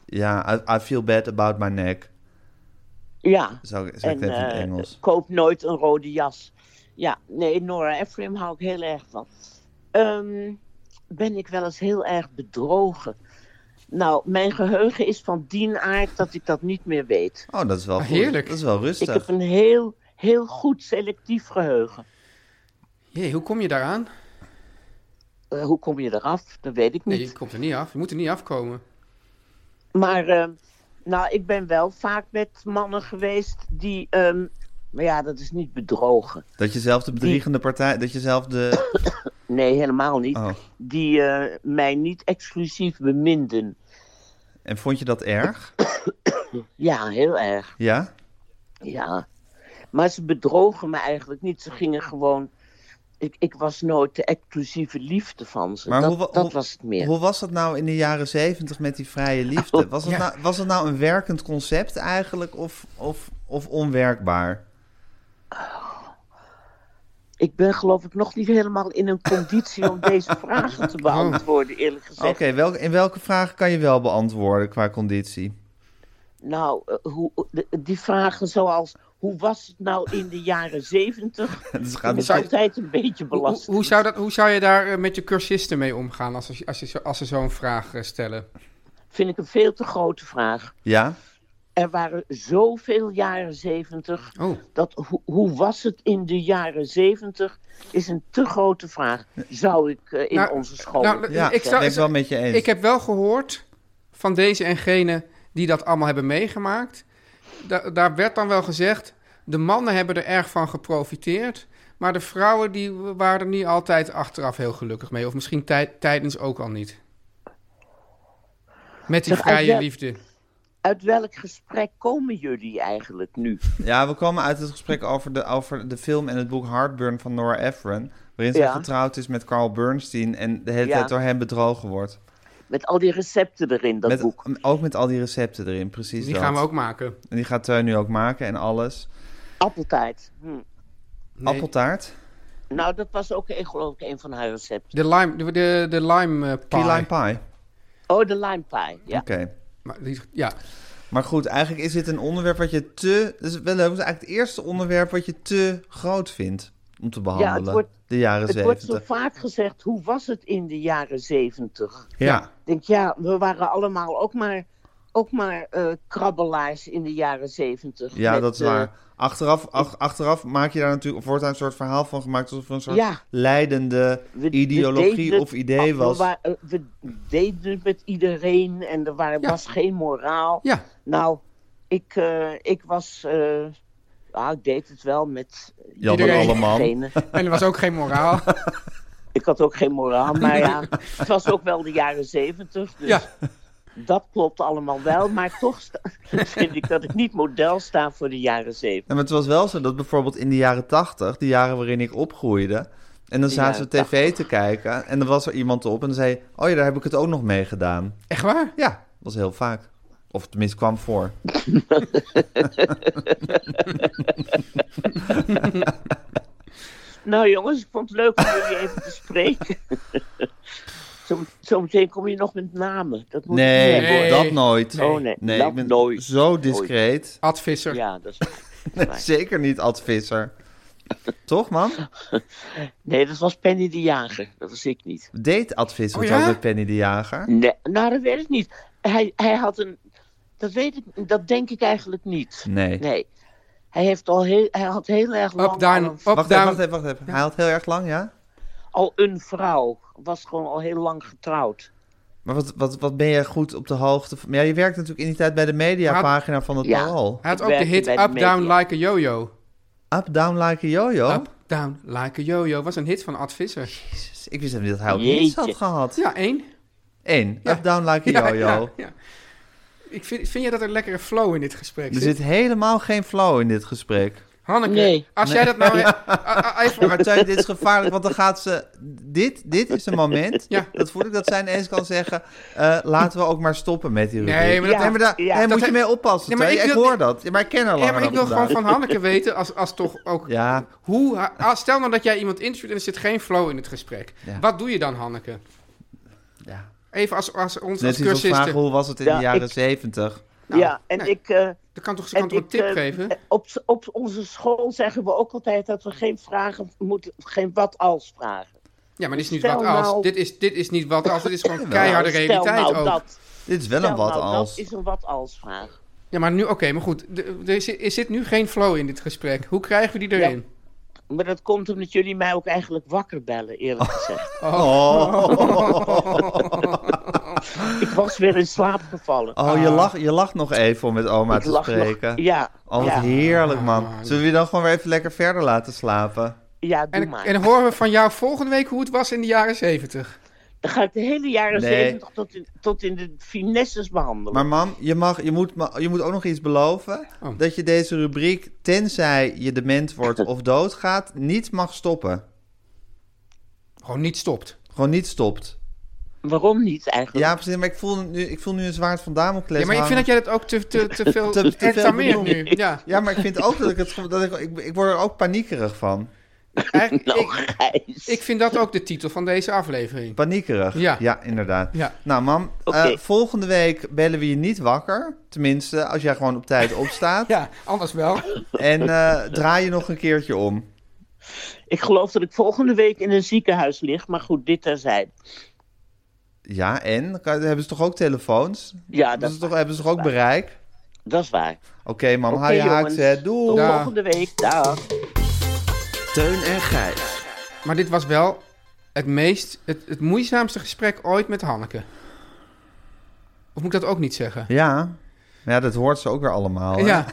B: Ja, I, I feel bad about my neck.
F: Ja.
B: Zou, ik- zou
F: En
B: ik net in het
F: eh,
B: Engels.
F: koop nooit een rode jas. Ja, nee, Nora Ephraim hou ik heel erg van. Ehm, ben ik wel eens heel erg bedrogen? Nou, mijn geheugen is van die aard dat ik dat niet meer weet.
B: Oh, dat is wel goed.
C: Ah, heerlijk.
B: Dat is wel
F: Ik
B: rustig.
F: heb een heel, heel goed selectief geheugen.
C: Jee, hoe kom je daaraan?
F: Eh, hoe kom je eraf? Dat weet ik niet.
C: Nee, je komt er niet af. Je moet er niet afkomen.
F: Maar ehm, nou, ik ben wel vaak met mannen geweest die. ehm, maar ja, dat is niet bedrogen.
B: Dat je zelf de bedriegende partij... Dat je zelf de...
F: Nee, helemaal niet.
B: Oh.
F: Die eh, mij niet exclusief beminden.
B: En vond je dat erg?
F: Ja, heel erg.
B: Ja?
F: Ja. Maar ze bedrogen me eigenlijk niet. Ze gingen gewoon. Ik, ik was nooit de exclusieve liefde van ze.
B: Maar
F: dat
B: hoe, wa-
F: dat
B: hoe-
F: was het meer.
B: Hoe was dat nou in de jaren zeventig met die vrije liefde? Was het,
C: ja.
B: nou, was het nou een werkend concept eigenlijk of, of, of onwerkbaar?
F: Ik ben geloof ik nog niet helemaal in een conditie om deze vragen te beantwoorden, eerlijk
B: Oké,
F: gezegd.
B: welke- in welke vragen kan je wel beantwoorden qua conditie?
F: Nou, eh, hoe, de- die vragen zoals... Hoe was het nou in de jaren zeventig?
B: Dus gaat
F: Dat is
B: het-
F: altijd een beetje
C: Hoe, hoe,
F: belastend.
C: hoe zou dat, hoe zou je daar eh, met je cursisten mee omgaan als, als, als, je zo- als ze zo'n vraag eh, stellen?
F: Vind ik een veel te grote vraag.
B: Ja?
F: Er waren zoveel jaren zeventig...
C: Oh,
F: dat ho- hoe was het in de jaren zeventig... is een te grote vraag, zou ik eh, in
C: Nou,
F: onze school...
C: nou,
B: Ja,
C: Ik
B: ik
C: zou-
B: ben ik wel met je eens.
C: ik heb wel gehoord van deze en gene die dat allemaal hebben meegemaakt. Da- daar werd dan wel gezegd, de mannen hebben er erg van geprofiteerd. Maar de vrouwen die waren er niet altijd achteraf heel gelukkig mee. Of misschien tij- tijdens ook al niet. Met die
F: Zeg, als
C: vrije
F: jij-
C: liefde.
F: Uit welk gesprek komen jullie eigenlijk nu?
B: Ja, we komen uit het gesprek over de, over de film en het boek Heartburn van Nora Ephron. Waarin zij
F: Ja.
B: getrouwd is met Carl Bernstein en de hele
F: Ja.
B: tijd door hem bedrogen wordt.
F: Met al die recepten erin, dat
B: Met,
F: boek.
B: Ook met al die recepten erin, precies
C: Die
B: dat.
C: gaan we ook maken.
B: En die gaat Teun nu ook maken en alles.
F: Appeltaart. Hm.
C: Nee,
B: Appeltaart?
F: Nou, dat was ook eh, geloof ik een van haar recepten.
C: De lime, de, de, de lime eh,
B: Key
C: pie.
B: lime pie.
F: Oh, de lime pie, ja.
B: Oké.
C: Maar die- ja,
B: Maar goed, eigenlijk is dit een onderwerp wat je te... Dat is wel leuk, het is eigenlijk het eerste onderwerp wat je te groot vindt om te behandelen.
F: wordt-
B: de jaren
F: Het wordt zo
B: zeventig.
F: vaak gezegd, hoe was het in de jaren zeventig?
B: Ja.
F: Ik denk, ja, we waren allemaal ook maar, ook maar eh, krabbelaars in de jaren zeventig.
B: Ja,
F: Met,
B: dat is
F: eh,
B: waar. Achteraf, ach- achteraf maak je daar natuurlijk of wordt daar een soort verhaal van gemaakt, alsof er een soort
F: Ja.
B: leidende
F: we- we
B: ideologie
F: deden-
B: of idee
F: we
B: was.
F: wa- eh, We, deden het met iedereen en er waren,
C: Ja.
F: was geen moraal.
C: ja.
F: Nou, ik, eh, ik was... eh, ah, ik deed het wel met
B: Jan
C: van
F: iedereen.
B: Alleman.
F: Degene.
C: En er was ook geen moraal.
F: Ik had ook geen moraal, maar ja, het was ook wel de jaren zeventig. Dus
C: Ja.
F: dat klopt allemaal wel. Maar toch sta- vind ik dat ik niet model sta voor de jaren zeventig.
B: Ja, maar het was wel zo dat bijvoorbeeld in de jaren tachtig, de jaren waarin ik opgroeide, en dan zaten we
F: jaren
B: tv te kijken en dan was er iemand op en dan zei, oh ja, daar heb ik het ook nog mee gedaan.
C: Echt waar?
B: Ja, dat was heel vaak. Of tenminste kwam voor.
F: Nou jongens, ik vond het leuk om jullie even te spreken. Zom- Zometeen kom je nog met namen. Dat moet
B: Nee,
F: ik niet hebben,
B: dat nooit.
F: hoor. Oh nee,
B: Nee,
F: dat
B: ik ben
F: nooit.
B: zo discreet.
C: Ad Visser.
F: Ja, dat is
B: Nee, zeker niet Ad Visser. Toch, man?
F: Nee, dat was Penny de Jager. Dat was ik niet.
B: Deed Ad Visser
C: Oh,
B: het ook
C: ja?
B: met Penny de Jager?
F: Nee, nou, dat weet ik niet. Hij, hij had een... Dat weet ik, dat denk ik eigenlijk niet.
B: Nee.
F: Nee. Hij, heeft al heel, hij had heel erg lang
C: Up,
F: al
C: down,
F: een
C: up,
B: Wacht even,
C: down.
B: wacht even, wacht even. Hij had heel erg lang, ja?
F: al een vrouw. Was gewoon al heel lang getrouwd.
B: Maar wat, wat, wat ben jij goed op de hoogte van... Maar ja, je werkt natuurlijk in die tijd bij de mediapagina van het
F: Ja.
B: Parool.
C: Hij had ook
F: Ik
C: de
F: werkte
C: hit
F: bij de
C: Up, Down,
F: media.
C: Like a Yo-Yo.
B: Up, down like a yo-yo.
C: Up, down, like a yo-yo. Was een hit van Ad Visser.
B: Jezus, ik wist helemaal niet dat hij ook
F: Jeetje.
B: iets had gehad.
C: Ja, één.
B: Eén,
C: Ja.
B: up, down like a
C: Ja,
B: yo-yo.
C: ja, ja. Ik vind, vind je dat er lekkere flow in dit gesprek
B: Er
C: zit?
B: zit helemaal geen flow in dit gesprek.
C: Hanneke,
F: Nee.
C: als jij dat nou... a- a- a- even-
B: Maar Teun, dit is gevaarlijk, want dan gaat ze... Dit, dit is een moment,
C: Ja.
B: dat voel ik, dat zij ineens kan zeggen... eh, laten we ook maar stoppen met die rubriek.
C: Nee, maar dat-
B: nee, maar daar
F: ja.
B: nee,
C: Dat
B: moet je
C: hij-
B: mee oppassen,
C: Ja,
B: ja,
C: maar
B: maar
C: ik
B: ik,
C: wil-
B: hoor dat. Ja, maar ik ken haar
C: Ja,
B: langer
C: maar
B: dan
C: ik wil gewoon
B: vandaag.
C: van Hanneke weten, als, als toch ook...
B: Ja,
C: Hoe, ah, stel nou dat jij iemand interviewt en er zit geen flow in het gesprek.
B: Ja.
C: Wat doe je dan, Hanneke?
B: ja.
C: Even als, als ons als
B: Net iets als vragen,
C: cursisten.
B: hoe was het in
F: Ja,
B: de jaren
F: ik-
B: zeventig?
C: Nou,
F: ja, en
C: nee.
F: ik... eh,
C: Dan kan toch, ze kan
F: en
C: toch een
F: ik,
C: tip
F: eh,
C: geven?
F: Op, s- op onze school zeggen we ook altijd dat we geen vragen moeten, geen wat als vragen.
C: Ja, maar dit is niet
F: stel
C: wat als.
F: nou-
C: Dit, is, dit is niet wat als. Dit is gewoon keiharde
F: Nou,
C: realiteit
F: stel nou
C: ook.
F: Dat,
B: Dit is wel
F: stel
B: een wat
F: nou
B: als.
F: Dat is een wat als vraag.
C: Ja, maar nu, oké, maar goed. de- Er zit, er zit nu geen flow in dit gesprek. Hoe krijgen we die erin?
F: Maar dat komt omdat jullie mij ook eigenlijk wakker bellen, eerlijk gezegd.
B: Oh,
F: Ik was weer in slaap gevallen.
B: oh
C: Ah.
B: je, lacht, je lacht nog even om met oma
F: Ik
B: te
F: lag nog-
B: spreken.
F: ja,
B: Oh, wat
F: ja,
B: heerlijk, man. Zullen we je dan gewoon weer even lekker verder laten slapen?
F: ja, doe
C: En,
F: maar.
C: en dan horen we van jou volgende week hoe het was in de jaren zeventig.
F: Dan ga ik de hele jaren
B: Nee.
F: 70 tot in, tot in de finesses behandelen.
B: Maar mam, je, mag, je, moet, ma- je moet ook nog iets beloven.
C: Oh.
B: Dat je deze rubriek, tenzij je dement wordt of doodgaat, niet mag stoppen.
C: Gewoon niet stopt.
B: Gewoon niet stopt.
F: Waarom niet eigenlijk?
B: Ja, precies. Maar ik voel nu, ik voel nu een zwaard van Damocles
C: Ja, maar ik vind dat
B: hangen.
C: jij dat ook te, te, te veel
B: Te- te veel
C: entameert
B: benoemt.
C: nu. Ja.
B: Ja, maar ik vind ook dat ik het... ge- Dat ik, ik, ik word er ook paniekerig van.
C: Eigenlijk,
F: nou,
C: ik,
F: Gijs.
C: ik vind dat ook de titel van deze aflevering.
B: Paniekerig.
C: Ja.
B: inderdaad.
C: Ja.
B: Nou, mam,
F: Oké.
B: eh, volgende week bellen we je niet wakker. Tenminste, als jij gewoon op tijd opstaat.
C: Ja, anders wel.
B: En eh, draai je nog een keertje om.
F: Ik geloof dat ik volgende week in een ziekenhuis lig, maar goed, dit terzijde.
B: Ja, en? Dan kan- hebben ze toch ook telefoons?
F: Ja,
B: Hebben
F: dat,
B: ze toch, hebben ze toch ook bereik?
F: dat is waar.
B: Oké, mam,
F: Oké,
B: haal je
F: jongens.
B: haaks, hè. Doei.
F: Tot
C: Ja.
F: volgende week. Dag.
D: Teun en Gijs.
C: Maar dit was wel het meest, het, het moeizaamste gesprek ooit met Hanneke. Of moet ik dat ook niet zeggen?
B: Ja. Ja, dat hoort ze ook weer allemaal. hè.
C: Ja,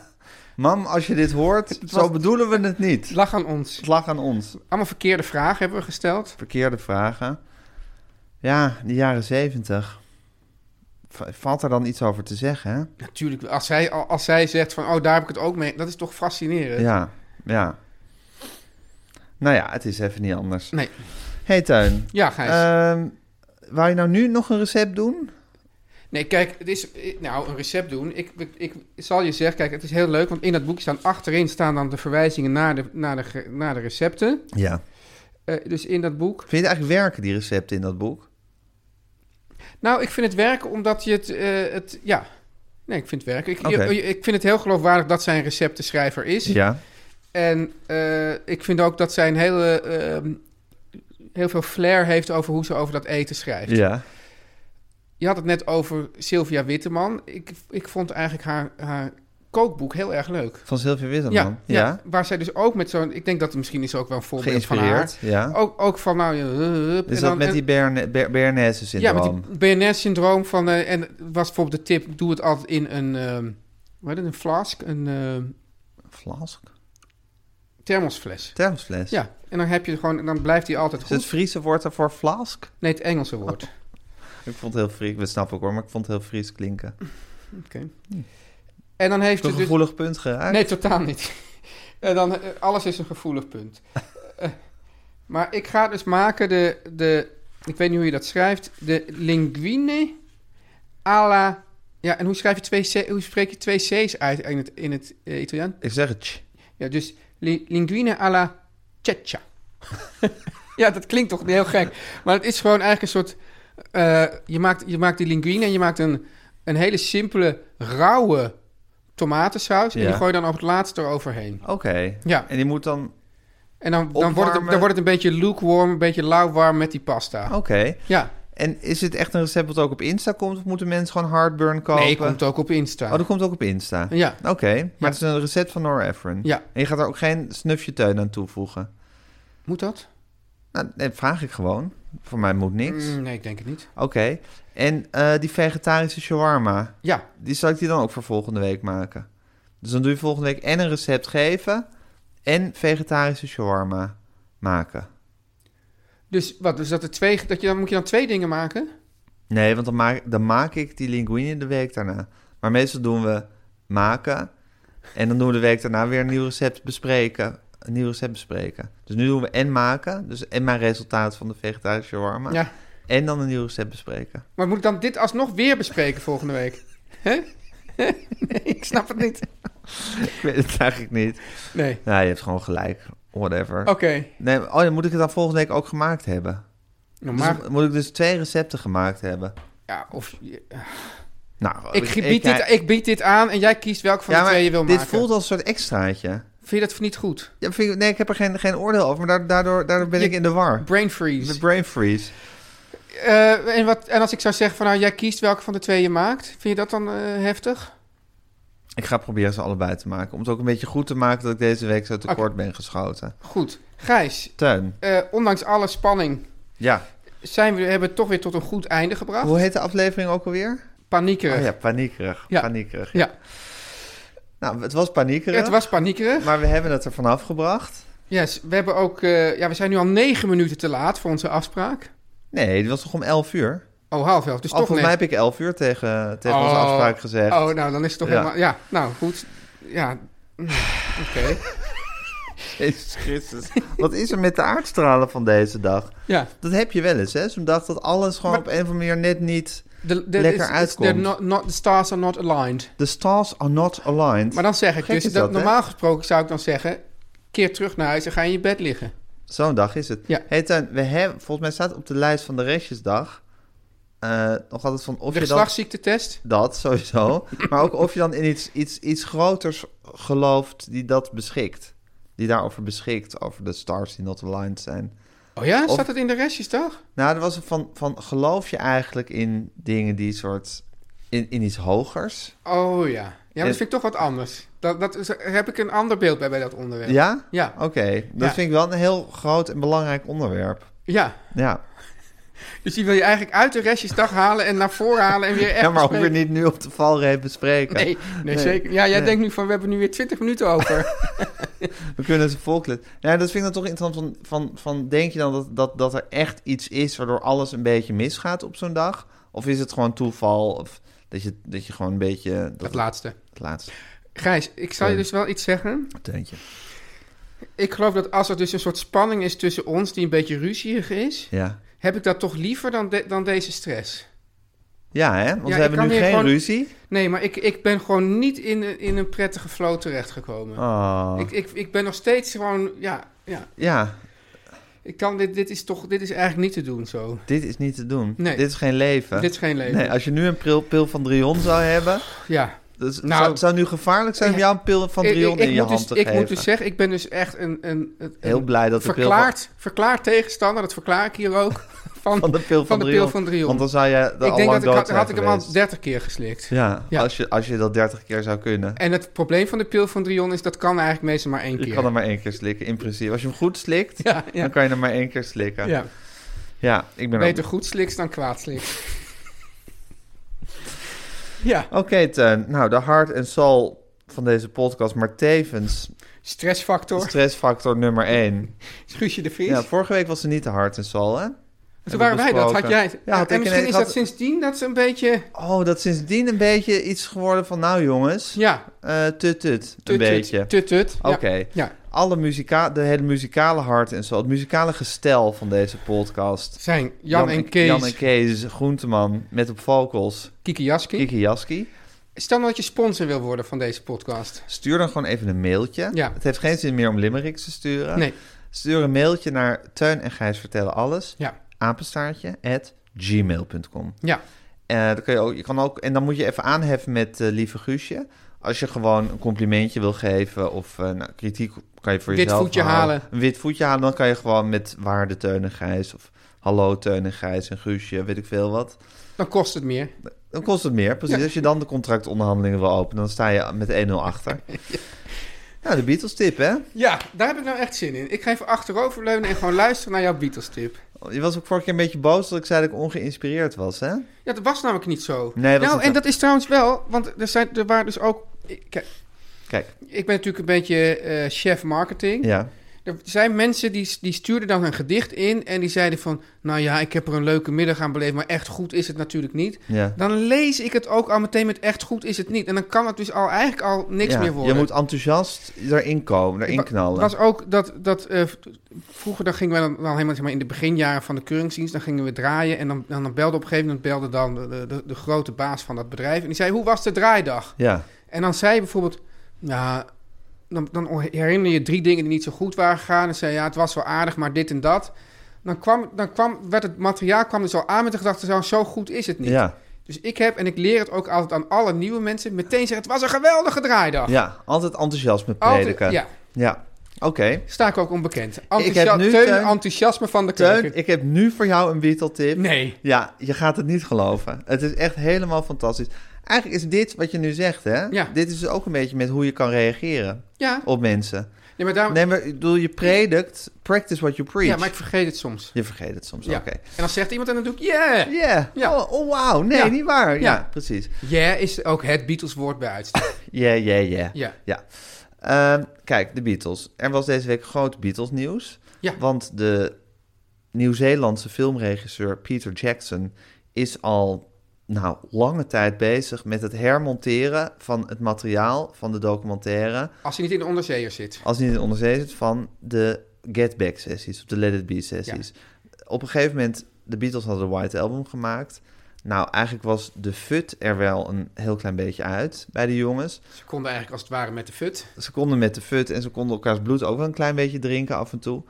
B: Mam, als je dit hoort, zo bedoelen we het niet.
C: lach aan ons.
B: Slag aan ons.
C: Allemaal verkeerde vragen hebben we gesteld.
B: Verkeerde vragen. Ja, de jaren zeventig. Valt er dan iets over te zeggen, hè?
C: Natuurlijk, als zij, als zij zegt van, oh, daar heb ik het ook mee. Dat is toch fascinerend?
B: Ja, ja. Nou ja, het is even niet anders.
C: Nee.
B: Hey Tuin,
C: Ja, Gijs.
B: Ehm wou je nou nu nog een recept doen?
C: Nee, kijk, het is, eh, nou, een recept doen. Ik, ik, ik zal je zeggen, kijk, het is heel leuk, want in dat boekje staan achterin staan dan de verwijzingen naar de, naar de, ge- naar de recepten.
B: Ja.
C: Eh, dus in dat boek.
B: Vind je het eigenlijk werken, die recepten in dat boek?
C: Nou, ik vind het werken omdat je het... eh, het ja, nee, ik vind het werken. Ik,
B: Oké.
C: ik, ik vind het heel geloofwaardig dat zij een receptenschrijver is.
B: Ja.
C: En eh, ik vind ook dat zij een hele, ehm, heel veel flair heeft over hoe ze over dat eten schrijft.
B: Ja.
C: Je had het net over Sylvia Witteman. Ik, ik vond eigenlijk haar, haar kookboek heel erg leuk.
B: Van Sylvia Wisselman?
C: Ja, ja. waar zij dus ook met zo'n... Ik denk dat misschien is ze ook wel een voorbeeld van haar.
B: Geïnspireerd, ja.
C: Ook, ook van, nou... eh, hup,
B: Is dat
C: en dan-
B: met
C: en-
B: die Berne, Ber-
C: Ja,
B: Bernays-syndroom?
C: met die BNS-syndroom van... eh, en was bijvoorbeeld de tip, doe het altijd in een... ehm hoe heet het? Een flask? Een ehm,
B: Flask?
C: thermosfles.
B: Thermosfles?
C: Ja, en dan heb je gewoon... Dan blijft die altijd
B: Is
C: goed.
B: het Friese woord daarvoor flask?
C: Nee, het Engelse woord.
B: Ik vond het heel Fries, we snappen ook hoor, maar ik vond het heel Fries klinken.
C: Dus
B: Heb
C: En dan heeft
B: je een
C: ze dus...
B: gevoelig punt geraakt?
C: Nee, totaal niet. en dan, eh, alles is een gevoelig punt. Eh, maar ik ga dus maken de, de... Ik weet niet hoe je dat schrijft. De linguine à la... Ja, en hoe, schrijf je twee C, hoe spreek je twee C's uit in het, in het eh, Italiaan?
B: Ik zeg het. tch.
C: Ja, dus li- linguine alla ceccia. ja, dat klinkt toch heel gek. Maar het is gewoon eigenlijk een soort... eh, je, maakt, je maakt die linguine en je maakt een, een hele simpele, rauwe tomatensaus. En
B: Ja.
C: die gooi je dan op het laatst eroverheen.
B: Oké.
C: Ja.
B: En die moet dan...
C: En dan, dan, wordt het,
B: Opwarmen.
C: dan wordt het een beetje lukewarm, een beetje lauwwarm met die pasta. Oh,
B: Oké.
C: Ja.
B: En is het echt een recept dat ook op Insta komt? Of moeten mensen gewoon hardburn kopen?
C: Nee, komt ook op Insta.
B: Oh, dat komt ook op Insta?
C: Ja.
B: Oké, maar het is een recept van Nora Ephron.
C: Ja.
B: En je gaat er ook geen snufje teun aan toevoegen?
C: Moet dat?
B: Nou, nee, dat vraag ik gewoon. Voor mij moet niks.
C: Mm, nee, ik denk het niet.
B: Oké. En eh, die vegetarische shawarma,
C: Ja,
B: die zal ik die dan ook voor volgende week maken? Dus dan doe je volgende week en een recept geven... en vegetarische shawarma maken.
C: Dus wat, dus dat er twee, dat je, dan moet je dan twee dingen maken?
B: Nee, want dan maak, dan maak ik die linguine de week daarna. Maar meestal doen we maken en dan doen we de week daarna weer een nieuw recept bespreken. Een nieuw recept bespreken. Dus nu doen we en maken, dus en mijn resultaat van de vegetarische shawarma.
C: Ja.
B: En dan een nieuw recept bespreken.
C: Maar moet ik dan dit alsnog weer bespreken volgende week? Hè? nee, ik snap het niet.
B: ik weet het eigenlijk niet.
C: Nee.
B: Ja, je hebt gewoon gelijk. Whatever.
C: Oké.
B: Nee, oh, dan moet ik het dan volgende week ook gemaakt hebben.
C: Nou,
B: Dus
C: maar,
B: dan moet ik dus twee recepten gemaakt hebben.
C: ja, of, je-
B: Nou,
C: ik, bied
B: kijk-
C: dit, ik bied dit aan en jij kiest welke van
B: Ja,
C: de
B: maar
C: twee je wil
B: dit
C: maken.
B: voelt als een soort extraatje.
C: Vind je dat niet goed?
B: Ja, vind ik- nee, ik heb er geen, geen oordeel over, maar daar- daardoor, daardoor ben
C: Je-
B: ik in de war.
C: Brain freeze.
B: Met brain freeze.
C: Eh, en, wat, en als ik zou zeggen van nou, jij kiest welke van de twee je maakt, vind je dat dan eh, heftig?
B: Ik ga proberen ze allebei te maken. Om het ook een beetje goed te maken dat ik deze week zo tekort
C: Oké.
B: ben geschoten.
C: Goed. Gijs,
B: Teun,
C: eh, ondanks alle spanning
B: ja.
C: zijn we, hebben we het toch weer tot een goed einde gebracht.
B: Hoe heet de aflevering ook alweer?
C: Paniekerig.
B: Oh ja, paniekerig.
C: Ja.
B: Paniekerig.
C: Ja,
B: Nou, het was paniekerig.
C: het was paniekerig.
B: Maar we hebben het er vanaf gebracht.
C: Yes, we, hebben ook, eh, ja, we zijn nu al negen minuten te laat voor onze afspraak.
B: Nee, het was toch om 11 uur?
C: Oh, half elf, dus
B: Al,
C: toch
B: volgens mij
C: net.
B: heb ik 11 uur tegen, tegen onze
C: Oh.
B: afspraak gezegd.
C: Oh, nou, dan is het toch
B: Ja.
C: helemaal... Ja, nou, goed. Ja, mm, oké.
B: Jezus Christus. Wat is er met de aardstralen van deze dag?
C: Ja.
B: Dat heb je wel eens, hè? Zo'n dag dat alles gewoon
C: Maar-
B: op een of andere manier net niet...
C: De,
B: Lekker uitkomt.
C: uitkomen. Not, not, the stars are not aligned.
B: The stars are not aligned.
C: Maar dan zeg ik
B: Gek
C: dus...
B: is
C: Dat,
B: dat, hè?
C: normaal gesproken zou ik dan zeggen... Keer terug naar huis en ga in je bed liggen.
B: Zo'n dag is het.
C: Ja.
B: Hey, Tuin, we hebben, volgens mij staat op de lijst van de restjesdag... eh, nog altijd van of
C: De
B: je dan...
C: geslachtsziektetest.
B: Dat, sowieso. maar ook of je dan in iets, iets, iets groters gelooft die dat beschikt. Die daarover beschikt, over de stars die not aligned zijn.
C: Oh ja,
B: Of-
C: staat het in de restjes toch?
B: Nou, er was een van, van geloof je eigenlijk in dingen die soort... In, in iets hogers?
C: Oh ja. Ja, maar
B: En-
C: dat vind ik toch wat anders. Dat, dat is- daar heb ik een ander beeld bij bij dat onderwerp.
B: Ja?
C: Ja.
B: Oké, dat
C: Ja.
B: vind ik wel een heel groot en belangrijk onderwerp.
C: Ja.
B: Ja,
C: Dus die wil je eigenlijk uit de restjes dag halen en naar voren halen en weer echt
B: ja maar ook
C: bespreken.
B: weer niet nu op de valreep bespreken.
C: Nee, nee, zeker. Ja, jij denkt nu van, we hebben nu weer 20 minuten over.
B: We kunnen ze volklet. Ja, dat vind ik dan toch interessant. Van, van, van denk je dan dat, dat, dat er echt iets is waardoor alles een beetje misgaat op zo'n dag? Of is het gewoon toeval? Of dat je, dat je gewoon een beetje... Dat
C: Het laatste.
B: Het laatste.
C: Gijs, ik zal je dus wel iets zeggen.
B: Teuntje.
C: Ik geloof dat als er dus een soort spanning is tussen ons die een beetje ruzierig is,
B: Ja.
C: heb ik dat toch liever dan, de- dan deze stress.
B: Ja, hè? Want
C: Ja,
B: we
C: ik
B: hebben
C: kan
B: nu
C: hier
B: geen
C: gewoon-
B: ruzie.
C: Nee, maar ik, ik ben gewoon niet in, een- in een prettige flow terechtgekomen.
B: Oh.
C: Ik, ik, ik ben nog steeds gewoon, ja, ja.
B: Ja,
C: Ik kan, dit, dit is toch, dit is eigenlijk niet te doen zo.
B: dit is niet te doen.
C: Nee.
B: Dit is geen leven.
C: Dit is geen leven.
B: Nee, als je nu een pril, pil van Drion zou hebben...
C: Ja.
B: Dus het
C: Nou,
B: zou, het zou nu gevaarlijk zijn om jou een pil van
C: Ik-
B: Drion
C: ik, ik
B: in je
C: moet
B: hand
C: dus,
B: te
C: ik
B: geven.
C: moet dus zeggen, ik ben dus echt een... een, een
B: Heel
C: een
B: blij dat de pil van-
C: verklaard, verklaard tegenstander, dat verklaar ik hier ook, van,
B: van de pil van,
C: de
B: Drion.
C: pil van Drion.
B: Want dan zou je er
C: ik
B: al
C: denk
B: lang
C: dat ik,
B: dood
C: had,
B: zijn
C: had ik hem al
B: geweest.
C: 30 keer geslikt.
B: Ja,
C: Ja.
B: Als, je, als je dat 30 keer zou kunnen.
C: En het probleem van de pil van Drion is, dat kan eigenlijk meestal maar één keer.
B: Je kan hem maar één keer slikken, in principe. Als je hem goed slikt,
C: Ja, ja.
B: dan kan je hem maar één keer slikken.
C: ja.
B: Ja, ik ben
C: Beter
B: ook...
C: goed sliks dan kwaad sliks. ja,
B: Oké, Teun. Nou, de hart en soul van deze podcast, maar tevens
C: stressfactor.
B: stressfactor nummer één.
C: Guusje de Vries.
B: Ja, vorige week was ze niet de hart en soul, hè?
C: Toen waren wij dat, had jij.
B: Ja, had ik
C: en
B: in-
C: misschien
B: ik
C: is
B: had-
C: dat sindsdien dat ze een beetje...
B: Oh, dat is sindsdien een beetje iets geworden van... Nou, jongens,
C: Ja,
B: eh, tut-tut, een
C: tut,
B: beetje.
C: tut, tut, tut. Ja.
B: Oké.
C: Ja,
B: Alle muzika de hele muzikale hart en zo, het muzikale gestel van deze podcast.
C: zijn Jan, en Kees,
B: Jan en Kees, Groenteman, met op vocals,
C: Kiki Jaski.
B: Kiki Jaski.
C: Stel nou dat je sponsor wil worden van deze podcast.
B: Stuur dan gewoon even een mailtje.
C: Ja.
B: Het heeft geen zin meer om limericks te sturen.
C: Nee,
B: Stuur een mailtje naar Teun en Gijs vertellen alles.
C: ja,
B: Apenstaartje at gmail.com.
C: ja.
B: Eh, dan kun je ook, je kan ook, en dan moet je even aanheffen met eh, lieve Guusje. Als je gewoon een complimentje wil geven of eh, nou, kritiek kan je voor
C: Wit
B: jezelf
C: voetje
B: houden.
C: halen.
B: Een wit voetje halen, dan kan je gewoon met waarde Teun en Gijs of hallo Teun en Gijs en Guusje, weet ik veel wat.
C: Dan kost het meer.
B: Dan kost het meer, precies.
C: Ja.
B: Als je dan de contractonderhandelingen wil openen, dan sta je met 1-0 achter. Nou, de Beatles tip, hè?
C: Ja, daar heb ik nou echt zin in. Ik ga even achteroverleunen en gewoon luisteren naar jouw Beatles-tip.
B: Je was ook vorige keer een beetje boos dat ik zei dat ik ongeïnspireerd was, hè?
C: Ja, dat was namelijk niet zo.
B: Nee, dat was
C: nou,
B: niet zo.
C: en dat is trouwens wel, want er, zijn, er waren dus ook... ik- Kijk,
B: Kijk,
C: Ik ben natuurlijk een beetje eh, chef marketing.
B: ja.
C: Er zijn mensen die, die stuurden dan een gedicht in en die zeiden van... Nou ja, ik heb er een leuke middag aan beleefd, maar echt goed is het natuurlijk niet.
B: ja.
C: Dan lees ik het ook al meteen met echt goed is het niet. En dan kan het dus al eigenlijk al niks
B: Ja,
C: meer worden.
B: Je moet enthousiast daarin komen, daarin knallen.
C: Het was ook dat, dat eh, v- vroeger dan gingen wij dan, dan helemaal zeg maar, in de beginjaren van de keuringsdienst, dan gingen we draaien en dan, dan, dan belde op een gegeven moment belde dan de, de, de grote baas van dat bedrijf en die zei, hoe was de draaidag?
B: Ja,
C: En dan zei je bijvoorbeeld, nou, dan, dan herinner je drie dingen die niet zo goed waren gegaan. En zei, ja, het was wel aardig, maar dit en dat. Dan, kwam, dan kwam, werd het materiaal kwam dus al aan met de gedachte, zo, zo goed is het niet.
B: ja,
C: Dus ik heb, en ik leer het ook altijd aan alle nieuwe mensen, meteen zeggen, het was een geweldige draaidag.
B: ja. Altijd enthousiasme
C: Altijd-
B: prediken.
C: ja.
B: ja. Oké.
C: Sta ik ook onbekend.
B: heb
C: Enthousiast,
B: nu,
C: teun,
B: Teun-
C: enthousiasme van de
B: Teun,
C: keuken.
B: ik heb nu voor jou een Beatle-tip.
C: Nee.
B: Ja, je gaat het niet geloven. Het is echt helemaal fantastisch. Eigenlijk is dit wat je nu zegt, hè?
C: Ja.
B: Dit is ook een beetje met hoe je kan reageren
C: Ja,
B: op mensen.
C: nee, maar daarom,
B: Nee, maar ik bedoel, je predikt, practice what you preach.
C: ja, maar ik vergeet het soms.
B: Je vergeet het soms,
C: Ja.
B: oké.
C: En dan zegt iemand en dan doe ik yeah.
B: Yeah.
C: Ja.
B: Oh, oh, wauw. Nee,
C: Ja.
B: niet waar. Ja,
C: Ja.
B: precies.
C: Yeah is ook het Beatles woord bij uitstek.
B: Ja, ja, ja.
C: Ja.
B: Ja. Ehm, kijk, de Beatles. Er was deze week groot Beatles-nieuws.
C: Ja.
B: Want de Nieuw-Zeelandse filmregisseur Peter Jackson is al nou, lange tijd bezig met het hermonteren van het materiaal van de documentaire.
C: Als hij niet in de onderzeeër zit.
B: Als hij niet in de onderzee zit, van de Get Back sessies, of de Let It Be sessies. Op een gegeven moment, de Beatles hadden de White Album gemaakt. Nou, eigenlijk was de fut er wel een heel klein beetje uit bij de jongens
C: Ze konden eigenlijk als het ware met de fut.
B: ze konden met de fut en ze konden elkaars bloed ook wel een klein beetje drinken af en toe.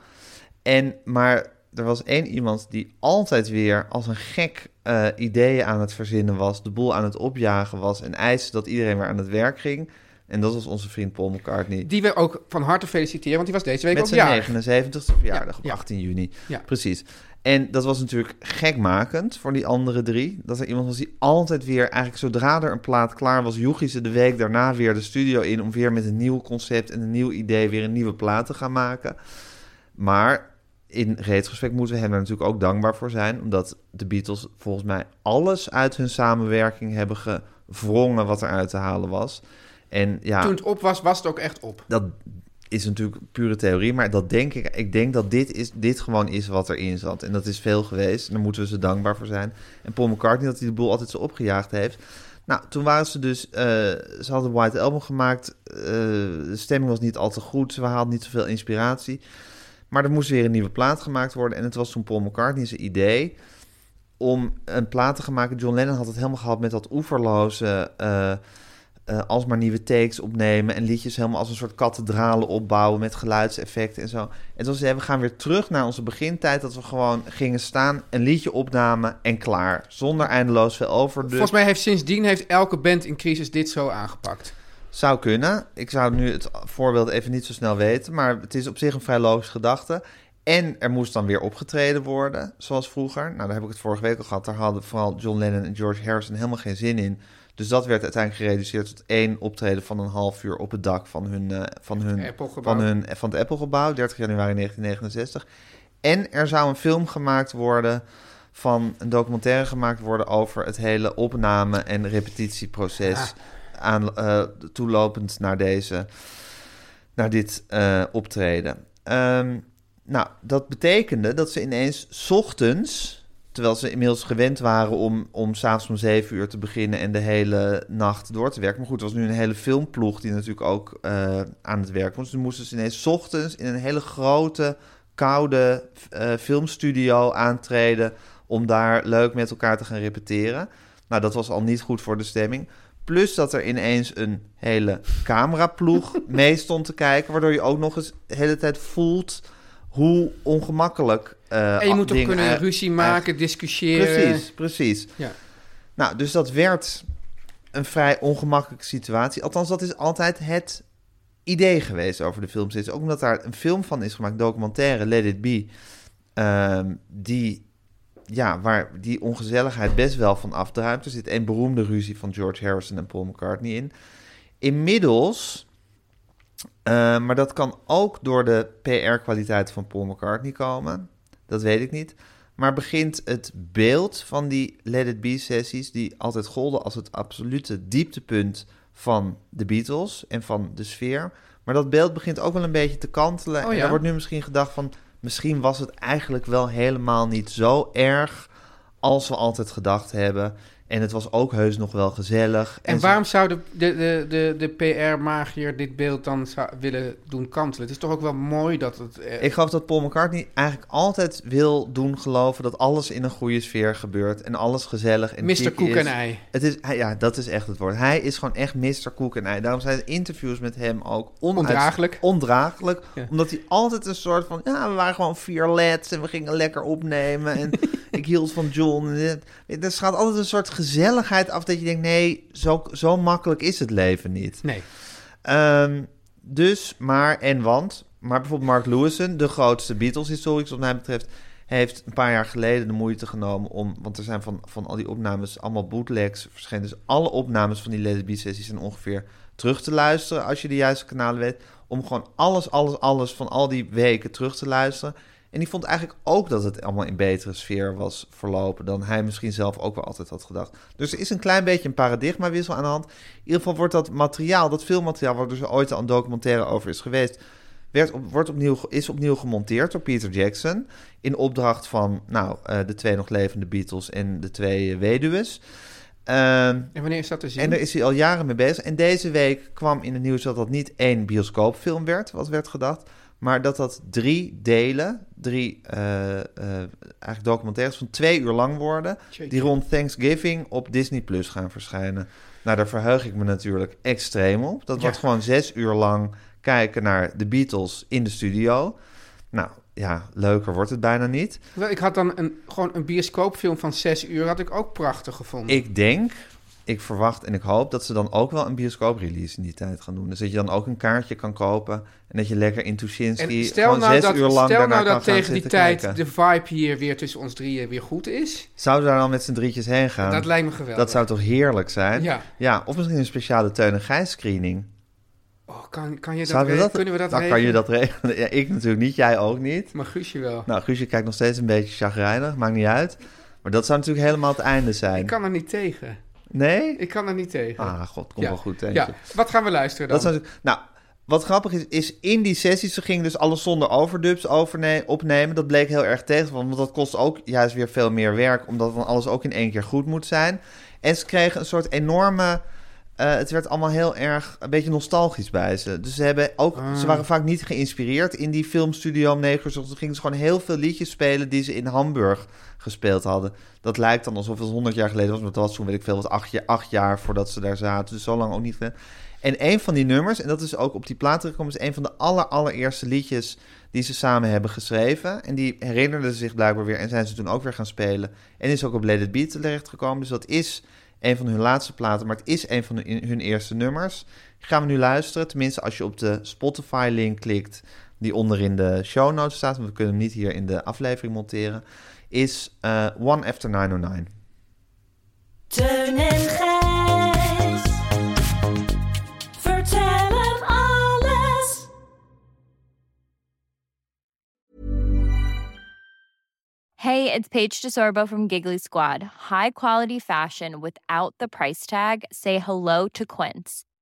B: En, maar er was één iemand die altijd weer als een gek eh, ideeën aan het verzinnen was, de boel aan het opjagen was en eiste dat iedereen weer aan het werk ging. En dat was onze vriend Paul McCartney.
C: Die we ook van harte feliciteren, want die was deze week
B: Met
C: ook jarig.
B: zijn 79ste verjaardag op
C: Ja, ja.
B: 18 juni.
C: Ja.
B: Precies. En dat was natuurlijk gekmakend voor die andere drie. Dat er iemand was die altijd weer, eigenlijk zodra er een plaat klaar was, joeg hij ze de week daarna weer de studio in om weer met een nieuw concept en een nieuw idee weer een nieuwe plaat te gaan maken. Maar in retrospect moeten we hem er natuurlijk ook dankbaar voor zijn, omdat de Beatles volgens mij alles uit hun samenwerking hebben gewrongen wat er uit te halen was. En ja,
C: Toen het op was, was het ook echt op.
B: dat is natuurlijk pure theorie, maar dat denk ik. Ik denk dat dit, is, dit gewoon is wat erin zat. En dat is veel geweest. En daar moeten we ze dankbaar voor zijn. En Paul McCartney, dat hij de boel altijd zo opgejaagd heeft. Nou, toen waren ze dus... eh, ze hadden White Album gemaakt. eh, de stemming was niet al te goed. Ze haalden niet zoveel inspiratie. Maar er moest weer een nieuwe plaat gemaakt worden. En het was toen Paul McCartney zijn idee om een plaat te gaan maken. John Lennon had het helemaal gehad met dat oeverloze... eh, eh, alsmaar nieuwe takes opnemen en liedjes helemaal als een soort kathedralen opbouwen met geluidseffecten en zo. En toen zei we gaan weer terug naar onze begintijd, dat we gewoon gingen staan, een liedje opnamen en klaar. Zonder eindeloos veel over. dus-
C: Volgens mij heeft sindsdien heeft elke band in crisis dit zo aangepakt.
B: Zou kunnen. Ik zou nu het voorbeeld even niet zo snel weten, maar het is op zich een vrij logische gedachte. En er moest dan weer opgetreden worden, zoals vroeger. Nou, daar heb ik het vorige week al gehad. Daar hadden vooral John Lennon en George Harrison helemaal geen zin in. Dus dat werd uiteindelijk gereduceerd tot één optreden van een half uur op het dak van hun, eh, van hun,
C: Applegebouw.
B: van hun van het Applegebouw, 30 januari 1969. En er zou een film gemaakt worden van een documentaire gemaakt worden over het hele opname- en repetitieproces. Aan, eh, toelopend naar deze, naar dit eh, optreden. Ehm, nou, dat betekende dat ze ineens 's ochtends, terwijl ze inmiddels gewend waren om, om s'avonds om 7 uur te beginnen en de hele nacht door te werken. Maar goed, er was nu een hele filmploeg die natuurlijk ook eh, aan het werk was. Dus toen moesten ze ineens 's ochtends in een hele grote, koude eh, filmstudio aantreden om daar leuk met elkaar te gaan repeteren. Nou, dat was al niet goed voor de stemming. Plus dat er ineens een hele cameraploeg mee stond te kijken, waardoor je ook nog eens de hele tijd voelt hoe ongemakkelijk. eh,
C: En je moet toch
B: dingen
C: kunnen
B: ei-
C: ruzie
B: eigenlijk-
C: maken, discussiëren.
B: Precies, precies.
C: Ja.
B: Nou, dus dat werd een vrij ongemakkelijke situatie. Althans, dat is altijd het idee geweest over de film. Ook omdat daar een film van is gemaakt, documentaire, Let It Be... ehm, die, ja, waar die ongezelligheid best wel van afdruipt. Er zit een beroemde ruzie van George Harrison en Paul McCartney in. Inmiddels... eh, maar dat kan ook door de PR-kwaliteit van Paul McCartney komen. Dat weet ik niet. Maar begint het beeld van die Let It Be-sessies, die altijd golden als het absolute dieptepunt van de Beatles en van de sfeer. Maar dat beeld begint ook wel een beetje te kantelen.
C: Oh
B: En
C: ja?
B: er wordt nu misschien gedacht van... misschien was het eigenlijk wel helemaal niet zo erg... als we altijd gedacht hebben. En het was ook heus nog wel gezellig.
C: En
B: zo-
C: waarom zou de, de, de, de, de PR-magier dit beeld dan zou- willen doen kantelen? Het is toch ook wel mooi dat het... eh,
B: Ik geloof dat Paul McCartney eigenlijk altijd wil doen geloven dat alles in een goede sfeer gebeurt en alles gezellig en
C: Mr.
B: chic
C: Koek
B: is.
C: en ei.
B: Het is, hij- ja, dat is echt het woord. Hij is gewoon echt Mr. Koek en ei. Daarom zijn de interviews met hem ook onuit-
C: Ondraaglijk.
B: ondraaglijk,
C: Ja.
B: omdat hij altijd een soort van, ja, we waren gewoon vier lads en we gingen lekker opnemen en ik hield van John. En dit. Er straalt altijd een soort gezelligheid af dat je denkt, nee, zo, zo makkelijk is het leven niet.
C: Nee.
B: Ehm, dus, maar en want. Maar bijvoorbeeld Mark Lewison, de grootste Beatles-historicus wat mij betreft... heeft een paar jaar geleden de moeite genomen om... want er zijn van, van al die opnames allemaal bootlegs verschenen. Dus alle opnames van die Led B-sessies zijn ongeveer terug te luisteren... als je de juiste kanalen weet. Om gewoon alles, alles, alles van al die weken terug te luisteren. En die vond eigenlijk ook dat het allemaal in betere sfeer was verlopen... dan hij misschien zelf ook wel altijd had gedacht. Dus er is een klein beetje een paradigmawissel aan de hand. In ieder geval wordt dat materiaal, dat filmmateriaal... waar dus ooit al een documentaire over is geweest... Werd op, wordt opnieuw, ge- is opnieuw gemonteerd door Peter Jackson... in opdracht van nou, eh, de twee nog levende Beatles en de twee eh, weduwes. Ehm,
C: En wanneer is dat te zien?
B: en daar is hij al jaren mee bezig. En deze week kwam in het nieuws dat dat niet één bioscoopfilm werd, wat werd gedacht. Maar dat dat drie delen, drie eh, eh, eigenlijk documentaires van twee uur lang worden.
C: Tjeetje.
B: Die rond Thanksgiving op Disney Plus gaan verschijnen. Nou, daar verheug ik me natuurlijk extreem op. Dat
C: Ja.
B: wordt gewoon zes uur lang kijken naar de Beatles in de studio. Nou ja, leuker wordt het bijna niet.
C: Wel, Ik had dan een, gewoon een bioscoopfilm van zes uur, had ik ook prachtig gevonden.
B: Ik denk, ik verwacht en ik hoop dat ze dan ook wel een bioscooprelease in die tijd gaan doen. Dus dat je dan ook een kaartje kan kopen en dat je lekker in Tuschinski
C: en stel
B: gewoon
C: nou
B: zes
C: dat,
B: uur lang
C: stel
B: daarna
C: nou
B: kan
C: dat
B: gaan
C: tegen die
B: zitten
C: tijd
B: kijken.
C: de vibe hier weer tussen ons drieën weer goed is.
B: Zouden we daar dan met z'n drietjes heen gaan?
C: dat lijkt me geweldig.
B: Dat zou toch heerlijk zijn?
C: Ja.
B: of misschien een speciale Teun en Gijs screening.
C: Oh, kan, kan je dat,
B: Zouden we
C: regelen?
B: dat,
C: Kunnen we dat
B: dan
C: regelen?
B: kan je dat regelen. Ja, ik natuurlijk niet, jij ook niet.
C: Maar Guusje wel.
B: Nou, Guusje kijkt nog steeds een beetje chagrijnig, maakt niet uit. Maar dat zou natuurlijk helemaal het einde zijn.
C: Ik kan er niet tegen.
B: Nee?
C: Ik kan er niet tegen.
B: Ah, god, komt
C: Ja.
B: wel goed, denk je.
C: ja. Wat gaan we luisteren dan?
B: Dat zou natuurlijk- nou, wat grappig is, is in die sessies, ze gingen dus alles zonder overdubs overne- opnemen. Dat bleek heel erg tegen, want dat kost ook juist weer veel meer werk, omdat dan alles ook in één keer goed moet zijn. En ze kregen een soort enorme... eh, het werd allemaal heel erg een beetje nostalgisch bij ze. Dus ze, hebben ook, ze waren vaak niet geïnspireerd in die filmstudio om 9 uur. 's ochtends. Ze gingen ze gewoon heel veel liedjes spelen die ze in Hamburg gespeeld hadden. Dat lijkt dan alsof het 100 jaar geleden was. Maar dat was toen, weet ik veel, was acht, jaar- acht jaar voordat ze daar zaten. Dus zo lang ook niet. gedaan. En een van die nummers, en dat is ook op die plaat teruggekomen, is een van de aller, allereerste liedjes die ze samen hebben geschreven. En die herinnerden ze zich blijkbaar weer en zijn ze toen ook weer gaan spelen. En is ook op Let It Be terechtgekomen. Dus dat is een van hun laatste platen, maar het is een van hun, hun eerste nummers. Die gaan we nu luisteren, tenminste als je op de Spotify-link klikt, die onderin de show notes staat, want we kunnen hem niet hier in de aflevering monteren, is eh, One After 909.
E: Teun en Gijs. Vertel hem alles.
G: Hey, it's Paige DeSorbo from Giggly Squad. High quality fashion without the price tag. Say hello to Quince.